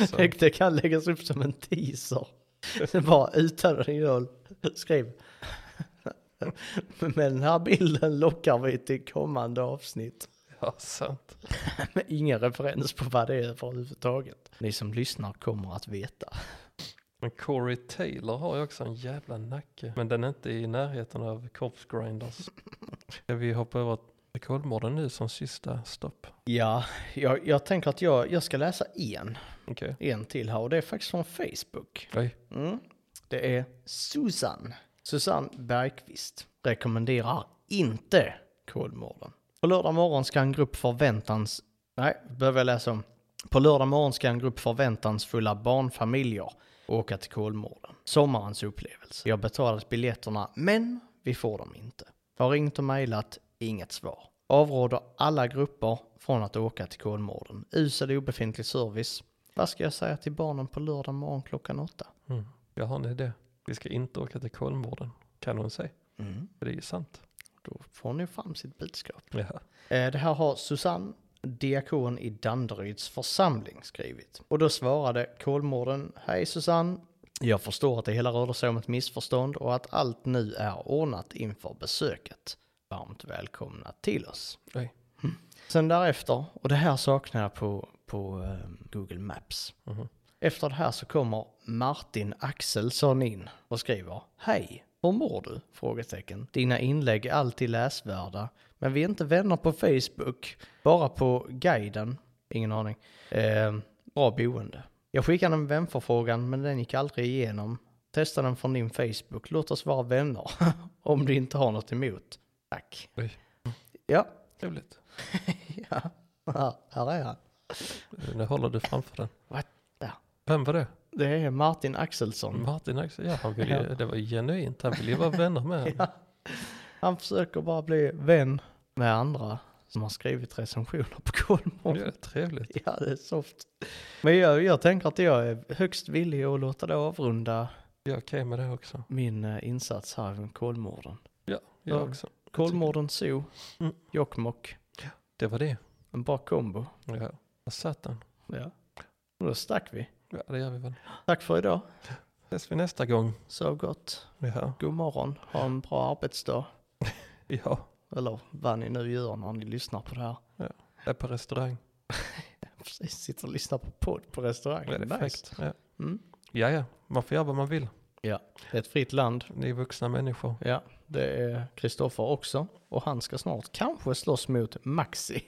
Så, Tänk det kan läggas upp som en teaser. Det är bara utan original. Skriv. Med den här bilden lockar vi till kommande avsnitt. ja, sant. Med ingen referens på vad det är överhuvudtaget. Ni som lyssnar kommer att veta. Men Corey Taylor har ju också en jävla nacke. Men den är inte i närheten av Corpse Grinders. Ska vi hoppa över till Kolmården nu som sista stopp? Ja, jag, jag tänker att jag, jag ska läsa en. Okej. En till här och det är faktiskt från Facebook. Oj. Mm. Det är Susan. Susanne Bergqvist rekommenderar inte Kolmården. På lördag morgon ska en grupp förväntans... Nej, behöver jag läsa om. På lördag morgon ska en grupp förväntansfulla barnfamiljer åka till Kolmården. Sommarens upplevelse. Jag har betalat biljetterna, men vi får dem inte. Jag har ringt och mejlat, inget svar. Avråder alla grupper från att åka till Kolmården. Usel obefintlig service. Vad ska jag säga till barnen på lördag morgon klockan åtta? Mm. Jag har en idé. Vi ska inte åka till Kolmården. Kan hon säga. Mm. För det är ju sant. Då får hon ju fram sitt budskap. Ja. Eh, Det här har Susanne, diakon i Danderyds församling, skrivit. Och då svarade Kolmården, Hej Susanne, jag förstår att det hela rörde sig om ett missförstånd och att allt nu är ordnat inför besöket. Varmt välkomna till oss. Oj. Mm. Sen därefter, och det här saknar jag på, på eh, Google Maps. Mhm. Efter det här så kommer Martin Axelsson in och skriver Hej, hur mår du? Frågetecken. Dina inlägg är alltid läsvärda, men vi är inte vänner på Facebook, bara på guiden. Ingen aning. Eh, bra boende. Jag skickade en vänförfrågan, men den gick aldrig igenom. Testa den från din Facebook. Låt oss vara vänner, om du inte har något emot. Tack. Oj. Ja, Trevligt. ja. Här, här är han. Eh, Nu håller du framför den. What the- Vem var det? Det är Martin Axelsson. Martin Axel. Ja, han ville Ja. ju, det var ju genuint. Han ville ju vara vänner med henne. Ja. Han försöker bara bli vän med andra som har skrivit recensioner på Det Kolmården. är trevligt. Ja, det är soft. Men jag, jag tänker att jag är högst villig att låta det avrunda Jag är okej med det också. min eh, insats här från Kolmården. Ja, jag Ja. också. Kolmården Zoo, Mm. Jokkmokk, Det var det. en bra kombo. Ja. Där satt den. Ja. Och då stack vi. Ja, det gör vi väl. Tack för idag. Ses vi nästa gång. Sov gott. Ja. God morgon. Ha en bra arbetsdag. Ja. Eller vad ni nu gör när ni lyssnar på det här. Jag är på restaurang. Precis, sitter och lyssnar på podd på restaurang. Det är Nice. fräckt. Ja. Mm. ja, ja. Man får göra vad man vill. Det är ett fritt land. Ni är vuxna människor. Ja, det är Kristoffer också. Och han ska snart kanske slåss mot Maxi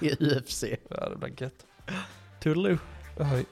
i UFC. Ja, det blir gött. Toodaloo! Hej.